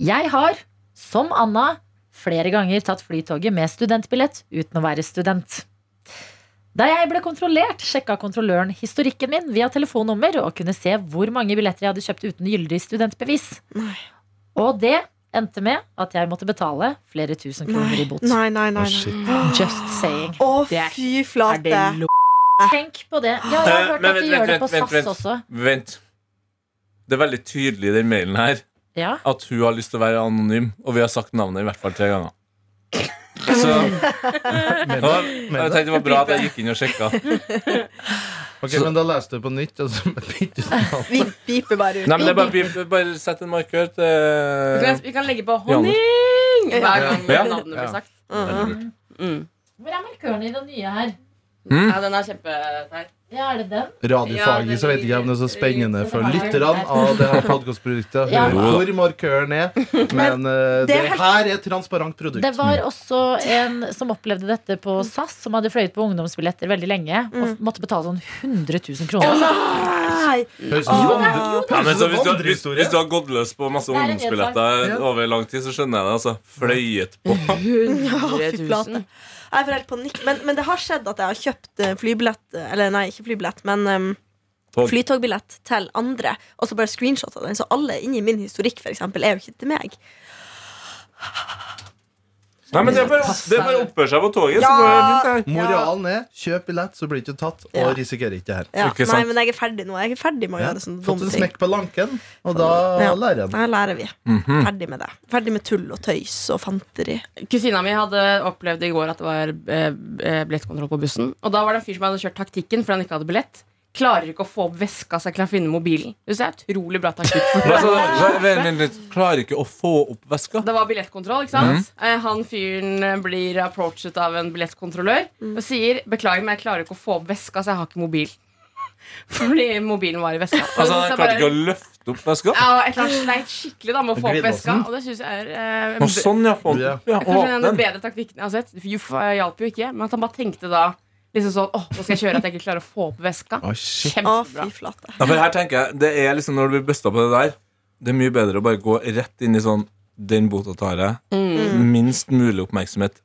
Speaker 2: Jeg har, som Anna, flere ganger tatt flytoget med studentbillett uten å være student. Da jeg ble kontrollert, sjekka kontrolløren historikken min via telefonnummer og kunne se hvor mange billetter jeg hadde kjøpt uten gyldig studentbevis.
Speaker 7: Nei.
Speaker 2: Og det endte med at jeg måtte betale flere tusen kroner
Speaker 7: Nei,
Speaker 2: i bot.
Speaker 7: nei, nei.
Speaker 3: Å,
Speaker 7: nei. nei.
Speaker 3: shit.
Speaker 2: Just saying.
Speaker 7: Å,
Speaker 5: Det er-
Speaker 7: fy
Speaker 5: Er det
Speaker 7: flate.
Speaker 5: lov?
Speaker 2: Tenk på det. Ja, jeg har
Speaker 4: Eh,
Speaker 2: hørt
Speaker 4: men
Speaker 2: at de
Speaker 4: vent,
Speaker 2: gjør det
Speaker 4: vent,
Speaker 2: på
Speaker 4: vent,
Speaker 2: SAS
Speaker 4: vent.
Speaker 2: også.
Speaker 4: Vent. Det er veldig tydelig i den mailen her
Speaker 2: Ja.
Speaker 4: at hun har lyst til å være anonym, og vi har sagt navnet i hvert fall tre ganger. Så
Speaker 3: Men,
Speaker 4: Ja, jeg tenkte det var bra at jeg gikk inn og sjekka.
Speaker 3: ok, men da leste du på nytt. Og så bytte du navn.
Speaker 7: Vi piper bare ut.
Speaker 4: Nei, men det er bare, vi- bare sett en markør
Speaker 5: Vi kan,
Speaker 4: til
Speaker 5: vi kan legge på
Speaker 4: Ja.
Speaker 5: honning hver gang
Speaker 4: Ja.
Speaker 5: navnet blir
Speaker 3: Ja.
Speaker 5: sagt.
Speaker 4: Mm.
Speaker 5: Mm.
Speaker 2: Hvor er markøren i det nye her?
Speaker 5: Ja, den er kjempeteit.
Speaker 2: Ja, er det den?
Speaker 3: Radiofaglig så vet jeg ikke om det er så spennende for lytterne av det her podkastproduktet. å
Speaker 2: Ja.
Speaker 3: høre Hvor markøren er. Men eh,
Speaker 7: det
Speaker 3: det
Speaker 7: er helt-
Speaker 3: her er et transparent
Speaker 2: Det
Speaker 3: produkt.
Speaker 2: var også en som opplevde dette på SAS, som hadde fløyet på ungdomsbilletter veldig lenge og måtte betale sånn 100 000 kroner.
Speaker 7: Nei!
Speaker 3: Høres ut som vandre-
Speaker 4: Ja,
Speaker 3: høres ut som
Speaker 4: men så hvis, du, hvis,
Speaker 3: vandrehistorie.
Speaker 4: hvis du har gått løs på masse
Speaker 2: Det er en
Speaker 4: ungdomsbilletter
Speaker 3: nedsak.
Speaker 4: over lang tid, så skjønner jeg det. altså Fløyet på.
Speaker 7: Å, fy
Speaker 5: 100
Speaker 7: flate.
Speaker 5: 000.
Speaker 7: Jeg får helt panikk. Men, men det har skjedd at jeg har kjøpt eh, flybillett Eller nei, ikke flybillett, men um,
Speaker 4: Tog.
Speaker 7: flytogbillett til andre, og så bare screenshot av den. Så alle inni min historikk for eksempel, er jo ikke til meg.
Speaker 4: Nei, men det er bare, det er bare å oppføre seg på toget, så går det fint. her.
Speaker 3: Moralen er kjøp billett, så blir du ikke tatt, og
Speaker 7: Ja.
Speaker 3: risikerer ikke det her.
Speaker 7: Ja.
Speaker 4: Ikke
Speaker 7: Nei,
Speaker 4: sant?
Speaker 7: men jeg er ferdig nå. Jeg er ferdig med å
Speaker 3: Ja.
Speaker 7: gjøre sånne
Speaker 3: Fått
Speaker 7: dumme
Speaker 3: en
Speaker 7: ting.
Speaker 3: smekk på lanken, og da
Speaker 7: Ja.
Speaker 3: lærer en.
Speaker 7: Nei, lærer vi. Ferdig med det. Ferdig med tull og tøys og fanteri.
Speaker 5: Kusina mi hadde opplevd i går at det var eh, eh, billettkontroll på bussen. Og da var det en fyr som hadde kjørt taktikken fordi han ikke hadde billett. Klarer ikke å få opp veska så jeg kan finne mobilen. Det synes jeg er utrolig bra taktikk. for
Speaker 4: Altså, vent, vent, vent litt. Klarer ikke å få opp veska.
Speaker 5: Det var billettkontroll, ikke sant? Eh, Han fyren blir approachet av en billettkontrollør og sier 'beklager, men jeg klarer ikke å få opp veska, så jeg har ikke mobil'. Fordi mobilen var i veska. Og
Speaker 4: Altså,
Speaker 5: så
Speaker 4: Han
Speaker 5: jeg bare-
Speaker 4: klarte ikke å løfte opp veska.
Speaker 5: Ja, et eller annet sleit skikkelig da med å få opp veska,
Speaker 3: Glidelåsen.
Speaker 5: og det syns jeg er eh,
Speaker 4: Og sånn, ja. Få
Speaker 3: Ja.
Speaker 4: den. Ja,
Speaker 5: Kanskje en av de
Speaker 4: åpne den.
Speaker 5: bedre taktikkene jeg har sett. Juff eh, hjalp jo ikke, men at han bare tenkte da liksom sånn åh, nå skal jeg kjøre at jeg ikke klarer å få opp veska.
Speaker 3: Å, shit.
Speaker 7: Å,
Speaker 5: Kjempebra.
Speaker 7: fy flate.
Speaker 4: Ja, for her tenker jeg, det er liksom Når du blir busta på det der, det er mye bedre å bare gå rett inn i sånn Den bota tar jeg.
Speaker 5: Mm.
Speaker 4: Minst mulig oppmerksomhet.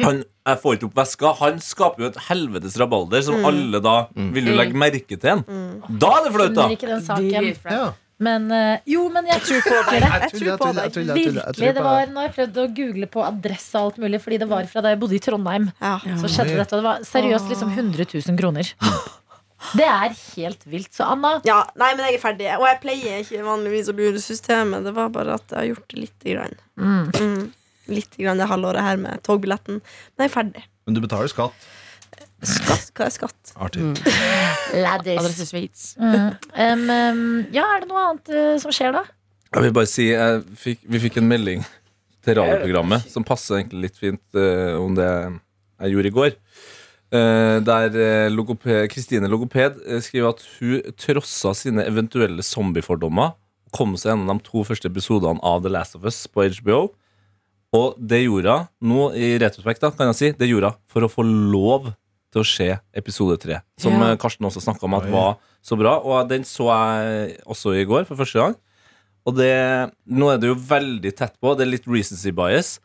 Speaker 4: Han, jeg får ikke opp veska. Han skaper jo et helvetes rabalder
Speaker 5: Mm.
Speaker 4: som alle da vil jo legge merke til. En. Da er det flaut, da!
Speaker 2: Skjønner ikke den saken.
Speaker 5: Dritflaut.
Speaker 3: Ja.
Speaker 2: Men eh, jo, men jeg husker det.
Speaker 3: Jeg
Speaker 7: tror på
Speaker 3: tuller, jeg tuller, jeg tuller, jeg
Speaker 2: Virkelig.
Speaker 3: tuller
Speaker 2: Det
Speaker 3: på
Speaker 2: var
Speaker 3: deg.
Speaker 2: når jeg prøvde å google på adresse og alt mulig, fordi det var fra da jeg bodde i Trondheim.
Speaker 7: Ja.
Speaker 2: Så skjedde dette, og det var seriøst liksom 100 000 kroner. Det er helt vilt. Så Anna,
Speaker 7: Ja, nei, men jeg er ferdig. Og jeg pleier ikke vanligvis å lure systemet. Det var bare at jeg har gjort det lite grann.
Speaker 2: Mm.
Speaker 7: Mm. Litt grann det halvåret her med togbilletten. Men jeg er ferdig.
Speaker 3: Men du betaler skatt.
Speaker 7: Skatt, hva er skatt?
Speaker 3: Artig.
Speaker 5: Mm.
Speaker 2: ladders.
Speaker 5: Adresse Sveits.
Speaker 2: Mm. Um, um, ja, er det noe annet eh, som skjer da?
Speaker 4: Jeg vil bare si, jeg fikk, vi fikk en melding til radioprogrammet som passer egentlig litt fint eh, om det jeg gjorde i går. Eh, der eh, logope- Kristine Logoped eh, skriver at hun trossa sine eventuelle zombiefordommer og kom seg gjennom de to første episodene av The Last of Us på HBO. Og det gjorde hun nå i retrospekt, da, kan jeg si, det gjorde hun for å få lov til å se episode tre. Som
Speaker 5: Ja.
Speaker 4: eh, Karsten også snakka om at
Speaker 3: Oi.
Speaker 4: var så bra. Og den så jeg også i går for første gang. Og det, nå er det jo veldig tett på. Det er litt recency bias.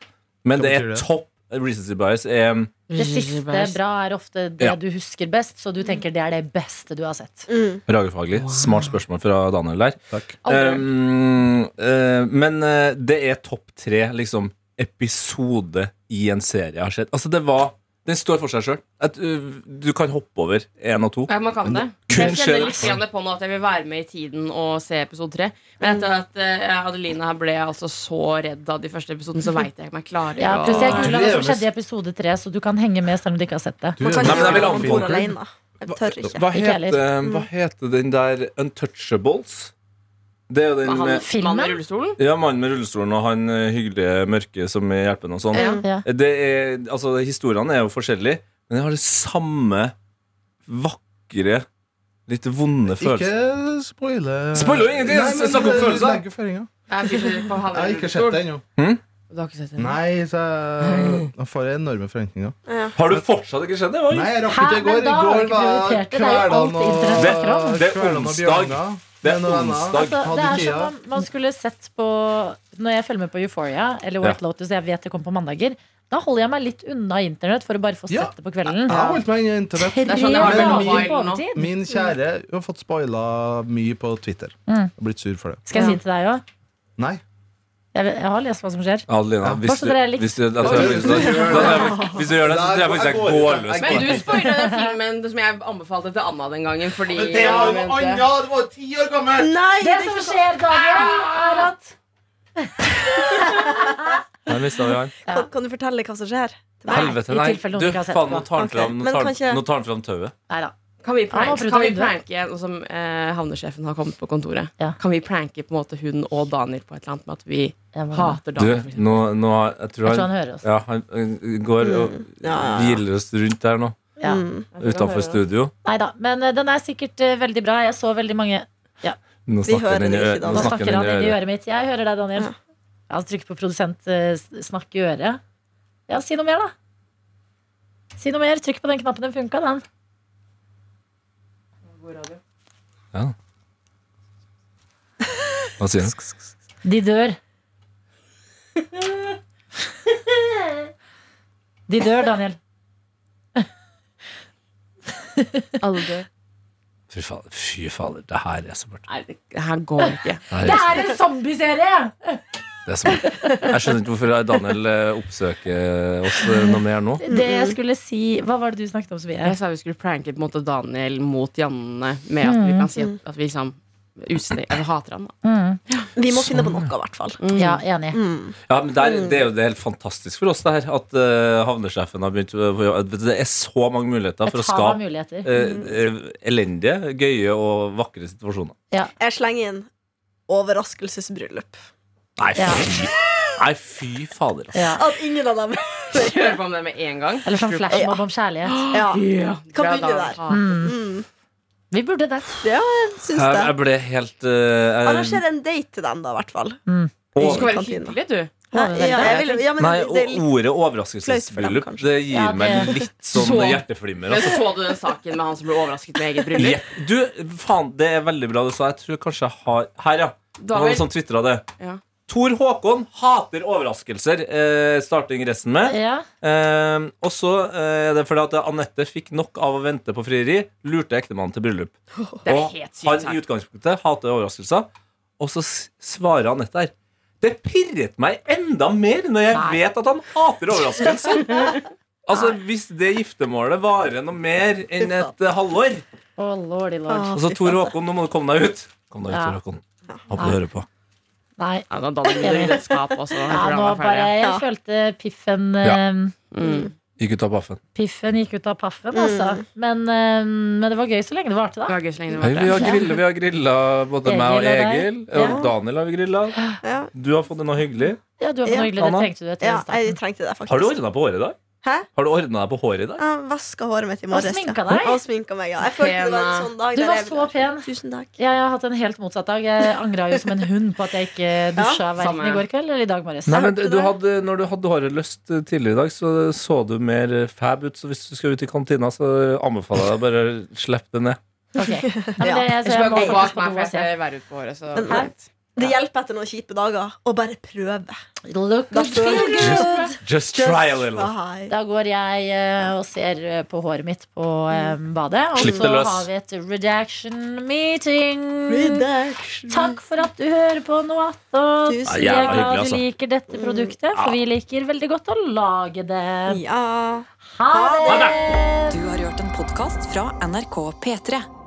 Speaker 4: Men
Speaker 3: Hva
Speaker 4: det er
Speaker 3: betyr det?
Speaker 4: topp recency bias. Er, um,
Speaker 2: Det siste bra er ofte det
Speaker 4: Ja.
Speaker 2: du husker best, så du tenker det er det beste du har sett.
Speaker 7: Mm.
Speaker 4: radiofaglig. Smart spørsmål fra Daniel der.
Speaker 3: Takk.
Speaker 4: Um, eh, men eh, det er topp tre liksom, episode i en serie jeg har sett. Altså, det var Den står for seg sjøl. Du kan hoppe over én og to.
Speaker 5: Ja, man kan det.
Speaker 4: Kun
Speaker 5: Jeg
Speaker 4: skjønn.
Speaker 5: kjenner litt grann på nå at jeg vil være med i tiden og se episode tre. Men etter at eh, Adelina her ble jeg altså så redd av de første episodene, så veit jeg ikke om jeg klarer
Speaker 2: Ja,
Speaker 5: å-
Speaker 2: pluss jeg
Speaker 3: Du
Speaker 2: googlet hva
Speaker 3: lever-
Speaker 2: som skjedde i episode tre, så du kan henge med selv om du ikke har sett det.
Speaker 3: Du,
Speaker 7: Man kan
Speaker 4: Nei,
Speaker 7: ikke
Speaker 4: men jeg vil
Speaker 7: gjøre det om bord
Speaker 4: anbefale-
Speaker 7: alene. Jeg tør ikke.
Speaker 4: Hva
Speaker 2: Ikke
Speaker 4: heter, eh, hva heter den der Untouchables? Det er jo den
Speaker 5: Hva, han
Speaker 4: med
Speaker 3: eh,
Speaker 5: mannen
Speaker 2: Filmen?
Speaker 5: i rullestolen?
Speaker 4: Ja, mannen med rullestolen og han eh, hyggelige mørke som hjelper henne og sånn.
Speaker 2: Ja.
Speaker 4: Det er, altså, historiene er jo forskjellige, men jeg har det samme vakre, litt vonde
Speaker 3: Ikke
Speaker 4: følelsen.
Speaker 3: spoile
Speaker 4: Spoiler jo ingenting,
Speaker 3: Nei,
Speaker 4: jeg
Speaker 3: men
Speaker 4: snakker om følelser.
Speaker 3: legger føringer.
Speaker 5: Nei, Jeg fyrer på han
Speaker 3: Jeg
Speaker 5: i
Speaker 3: har ikke sett det
Speaker 5: rullestolen.
Speaker 3: ennå.
Speaker 5: Du har ikke sett den?
Speaker 3: Nei, så jeg- jeg får enorme forventninger.
Speaker 7: Ja.
Speaker 4: Har du fortsatt ikke skjedd det? Oi.
Speaker 3: Nei, jeg rakk
Speaker 2: Hæ?
Speaker 3: ikke i går.
Speaker 2: Men da
Speaker 3: I
Speaker 2: har
Speaker 3: går
Speaker 2: du ikke prioritert det. Det er jo alt
Speaker 3: Kveland og
Speaker 2: internett snakker om.
Speaker 4: Det er
Speaker 3: Kveland og
Speaker 4: onsdag.
Speaker 3: Bjørnar.
Speaker 4: Det er
Speaker 3: Men noen
Speaker 4: onsdag.
Speaker 3: venner
Speaker 2: Altså, det
Speaker 3: hadde
Speaker 2: er
Speaker 3: tida.
Speaker 2: som om man skulle sett på Når jeg følger med på Euphoria eller White Lotus, jeg vet det kommer på mandager, da holder jeg meg litt unna internett for å bare få
Speaker 3: Ja.
Speaker 2: sett det på kvelden.
Speaker 3: Jeg holdt meg inne i internett.
Speaker 2: Tre
Speaker 5: Det er sånn jeg har
Speaker 3: det med
Speaker 2: dager på
Speaker 5: mobilen nå.
Speaker 2: overtid.
Speaker 3: Min kjære hun har fått spoila mye på Twitter. Jeg
Speaker 2: Mm.
Speaker 3: har blitt sur for det.
Speaker 2: Skal jeg si til deg òg?
Speaker 3: Nei.
Speaker 2: Jeg, jeg har lest hva som skjer.
Speaker 4: Adelina,
Speaker 3: Ja.
Speaker 4: hvis
Speaker 2: Bare så
Speaker 4: du,
Speaker 2: dere er likt.
Speaker 4: hvis, du, da tror jeg- hvis, du, da, tror jeg- hvis du gjør det, så tror jeg faktisk jeg går løs på
Speaker 5: Men du
Speaker 4: det.
Speaker 5: spoila den filmen som jeg anbefalte til Anna den gangen. Fordi
Speaker 3: Det var jo ti år gammel!
Speaker 7: Nei,
Speaker 2: Det som skjer, Daniel, er at
Speaker 4: Nei, hvis da vi har-
Speaker 7: Kan, kan du fortelle hva som skjer?
Speaker 2: Nei,
Speaker 4: Helvete,
Speaker 2: i
Speaker 4: nei.
Speaker 2: tilfelle noen
Speaker 4: Du,
Speaker 2: ikke har sett
Speaker 4: faen,
Speaker 2: det.
Speaker 4: nå tar han
Speaker 7: Ok,
Speaker 4: fram, nå
Speaker 7: men
Speaker 4: tar,
Speaker 7: kanskje-
Speaker 4: han- nå tar han fram tauet.
Speaker 2: Neida.
Speaker 5: Kan vi
Speaker 2: Ja, nå
Speaker 5: pranke,
Speaker 2: prøvde
Speaker 5: kan vi
Speaker 2: hun det.
Speaker 5: pranke nå som eh, havnesjefen har kommet på kontoret?
Speaker 2: Ja.
Speaker 5: Kan vi pranke på en måte hun og Daniel på et eller annet med at vi
Speaker 2: Jeg, må,
Speaker 5: hater
Speaker 4: Du,
Speaker 5: Daniel? for eksempel?
Speaker 4: nå, nå har- jeg tror
Speaker 2: jeg tror
Speaker 4: han
Speaker 2: han hører oss.
Speaker 4: Ja, han øh, går og
Speaker 7: Ja, ja, ja.
Speaker 4: hviler oss rundt der nå.
Speaker 2: Ja.
Speaker 7: Mm.
Speaker 5: Jeg tror han hører
Speaker 4: Utenfor
Speaker 5: det.
Speaker 4: studio.
Speaker 2: Neida, Men eh, den er sikkert eh, veldig bra. Jeg så veldig mange
Speaker 4: Nå
Speaker 7: Vi hører
Speaker 4: snakker han inn i
Speaker 7: det
Speaker 4: ø-
Speaker 7: ikke, da.
Speaker 4: nå
Speaker 2: Nå
Speaker 4: snakker
Speaker 2: snakker han
Speaker 4: inn
Speaker 2: inn i
Speaker 4: øret.
Speaker 2: øret mitt. Jeg hører deg, Daniel.
Speaker 7: Ja.
Speaker 2: Ja, så trykk på produsent, eh, s- snakk i øret. Ja, si noe mer, da. Si noe mer. Trykk på den knappen. Den funka, den.
Speaker 4: Hva sier han?
Speaker 2: De dør. De dør, Daniel.
Speaker 4: Fy fader, fy fader, det her er så mørkt.
Speaker 5: Nei, det det her går ikke.
Speaker 4: Det her er så-
Speaker 2: en zombieserie!
Speaker 4: det er så mørkt. Jeg skjønner ikke hvorfor Daniel eh, oppsøker oss eh, noe mer nå.
Speaker 2: Det jeg skulle si Hva var det du snakket om, Sofie?
Speaker 5: Jeg sa vi skulle pranke på en måte Daniel mot Janne med at vi kan si at, at vi liksom utsteng- altså, hater han. Da.
Speaker 2: Mm.
Speaker 7: Vi må finne på noe, i hvert fall.
Speaker 2: Ja, enig.
Speaker 7: Mm.
Speaker 4: Ja, men der, Det er jo det helt fantastisk for oss, det her. At eh, havnesjefen har begynt å- å- vet du, Det er så mange muligheter
Speaker 2: Et
Speaker 4: for å
Speaker 2: hav av
Speaker 4: skape
Speaker 2: muligheter.
Speaker 4: eh, eh, elendige, gøye og vakre situasjoner.
Speaker 7: Jeg slenger inn overraskelsesbryllup.
Speaker 4: Nei,
Speaker 2: Ja.
Speaker 4: fy, Nei, fy fader, altså.
Speaker 2: Ja.
Speaker 7: At ingen av dem
Speaker 5: Kjør på med det med en gang.
Speaker 2: Eller sånn flashmob om kjærlighet.
Speaker 7: Ja,
Speaker 5: Ja,
Speaker 7: Kan
Speaker 5: bra,
Speaker 7: begynne
Speaker 5: Daniel.
Speaker 7: der.
Speaker 5: Ha-
Speaker 2: Mm.
Speaker 7: mm.
Speaker 2: Vi burde det.
Speaker 4: Jeg,
Speaker 7: syns
Speaker 4: jeg
Speaker 7: det.
Speaker 4: ble helt eh, jeg-
Speaker 7: Arranger en date til dem, da, i hvert fall.
Speaker 2: Mm.
Speaker 5: Du
Speaker 4: over-
Speaker 5: skal være
Speaker 7: Kantina.
Speaker 5: hyggelig, du.
Speaker 7: Ja, jeg vil, ja, men
Speaker 4: Nei,
Speaker 7: det er
Speaker 4: og
Speaker 7: litt
Speaker 4: ordet
Speaker 7: flaut for dem,
Speaker 4: overraskelsesbryllup
Speaker 7: kanskje.
Speaker 4: Det gir
Speaker 2: Ja,
Speaker 4: meg
Speaker 2: det-
Speaker 4: litt sånn
Speaker 5: Så-
Speaker 4: hjerteflimmer.
Speaker 5: Men
Speaker 4: Altså.
Speaker 5: så du den saken med han som ble overrasket med eget bryllup?
Speaker 4: Ja. Du, faen, det er veldig bra du sa. Jeg tror kanskje jeg har Her, ja. Det var
Speaker 5: Daniel.
Speaker 4: noen som twitra det.
Speaker 5: Ja.
Speaker 4: Tor Håkon hater overraskelser. Eh, starting resten med.
Speaker 2: Ja.
Speaker 4: Eh, og så eh, er det fordi at Anette fikk nok av å vente på frieri. Lurte ektemannen til bryllup.
Speaker 5: Det er
Speaker 4: Og
Speaker 5: helt sykt.
Speaker 4: han i
Speaker 5: sagt.
Speaker 4: utgangspunktet hater overraskelser. Og så s- svarer Anette her. Det pirret meg enda mer når jeg
Speaker 2: Nei.
Speaker 4: vet at han hater overraskelser. altså, hvis det giftermålet varer noe mer enn et eh, halvår,
Speaker 2: Å, lordy lord.
Speaker 7: Å,
Speaker 4: Og så
Speaker 7: fy
Speaker 4: Tor
Speaker 7: flate.
Speaker 4: Håkon, nå må du komme deg ut. Kom deg ut,
Speaker 2: Ja.
Speaker 4: Tor Håkon. Håper du hører på.
Speaker 2: Nei.
Speaker 5: Ja, da danner vi det skap også.
Speaker 2: Ja, nå bare, jeg
Speaker 7: Ja.
Speaker 2: følte piffen eh,
Speaker 5: Mm.
Speaker 4: Gikk ut av baffen.
Speaker 2: Piffen gikk ut av paffen, altså.
Speaker 7: Mm.
Speaker 2: Men, eh, men det var gøy så lenge det varte,
Speaker 5: Det
Speaker 2: da.
Speaker 5: var gøy så lenge det
Speaker 4: Hei,
Speaker 5: var
Speaker 4: vi
Speaker 5: det.
Speaker 4: har grilla, vi har grilla både
Speaker 2: Egil
Speaker 4: meg
Speaker 2: og
Speaker 4: og
Speaker 2: deg.
Speaker 4: Egil. Og Daniel har vi grilla.
Speaker 7: Ja,
Speaker 4: Du har fått det noe hyggelig.
Speaker 2: Ja, du var så
Speaker 7: Ja,
Speaker 2: hyggelig. Det
Speaker 4: Anna.
Speaker 2: trengte du etter
Speaker 7: ja,
Speaker 2: starten.
Speaker 7: jeg trengte det, faktisk.
Speaker 4: Har du ordna på håret i dag?
Speaker 7: Hæ?
Speaker 4: Har du ordnet deg på håret i dag?
Speaker 7: Jeg vaska håret mitt i
Speaker 2: Og
Speaker 7: morges.
Speaker 2: sminka
Speaker 7: ja.
Speaker 2: deg.
Speaker 7: Og sminka meg, ja. Jeg følte det var en sånn dag
Speaker 2: Du
Speaker 7: der
Speaker 2: var
Speaker 7: jeg-
Speaker 2: så pen.
Speaker 7: Tusen takk.
Speaker 2: Jeg har hatt en helt motsatt dag. Jeg angra jo som en hund på at jeg ikke dusja verken
Speaker 5: samme.
Speaker 2: i går kveld eller i dag morges.
Speaker 4: Nei, men
Speaker 7: hørte
Speaker 4: du
Speaker 7: det.
Speaker 4: hadde, når du hadde håret løst eh, tidligere i dag, så så du mer eh, fab ut. Så hvis du skal ut i kantina, så anbefaler jeg deg bare å slippe det ned.
Speaker 2: Ok. Nei, men
Speaker 7: Ja.
Speaker 2: det, så
Speaker 5: Ikke
Speaker 2: jeg må
Speaker 5: bare gå
Speaker 2: faktisk på
Speaker 5: bak meg,
Speaker 2: do
Speaker 5: for
Speaker 2: og
Speaker 5: jeg
Speaker 2: se.
Speaker 5: ser verre ut på håret. Så
Speaker 7: Men- Det hjelper etter noen kjipe dager å bare prøve.
Speaker 2: Look
Speaker 7: Da
Speaker 2: good, feel
Speaker 7: føler
Speaker 2: good.
Speaker 4: Just
Speaker 7: Try.
Speaker 2: Da går jeg eh, og ser eh, på håret mitt på eh, badet. Og
Speaker 4: Slipp det
Speaker 2: så
Speaker 4: løs.
Speaker 2: har vi et redaction meeting.
Speaker 7: Redaction.
Speaker 2: Takk for at du hører på Noat. Og
Speaker 7: Tusen
Speaker 2: vi er
Speaker 4: Jævla
Speaker 2: glad
Speaker 4: hyggelig,
Speaker 2: du
Speaker 4: altså.
Speaker 2: liker dette produktet, for vi liker veldig godt å lage det.
Speaker 7: Ja.
Speaker 2: Ha det!
Speaker 1: Du har hørt en podkast fra NRK P3.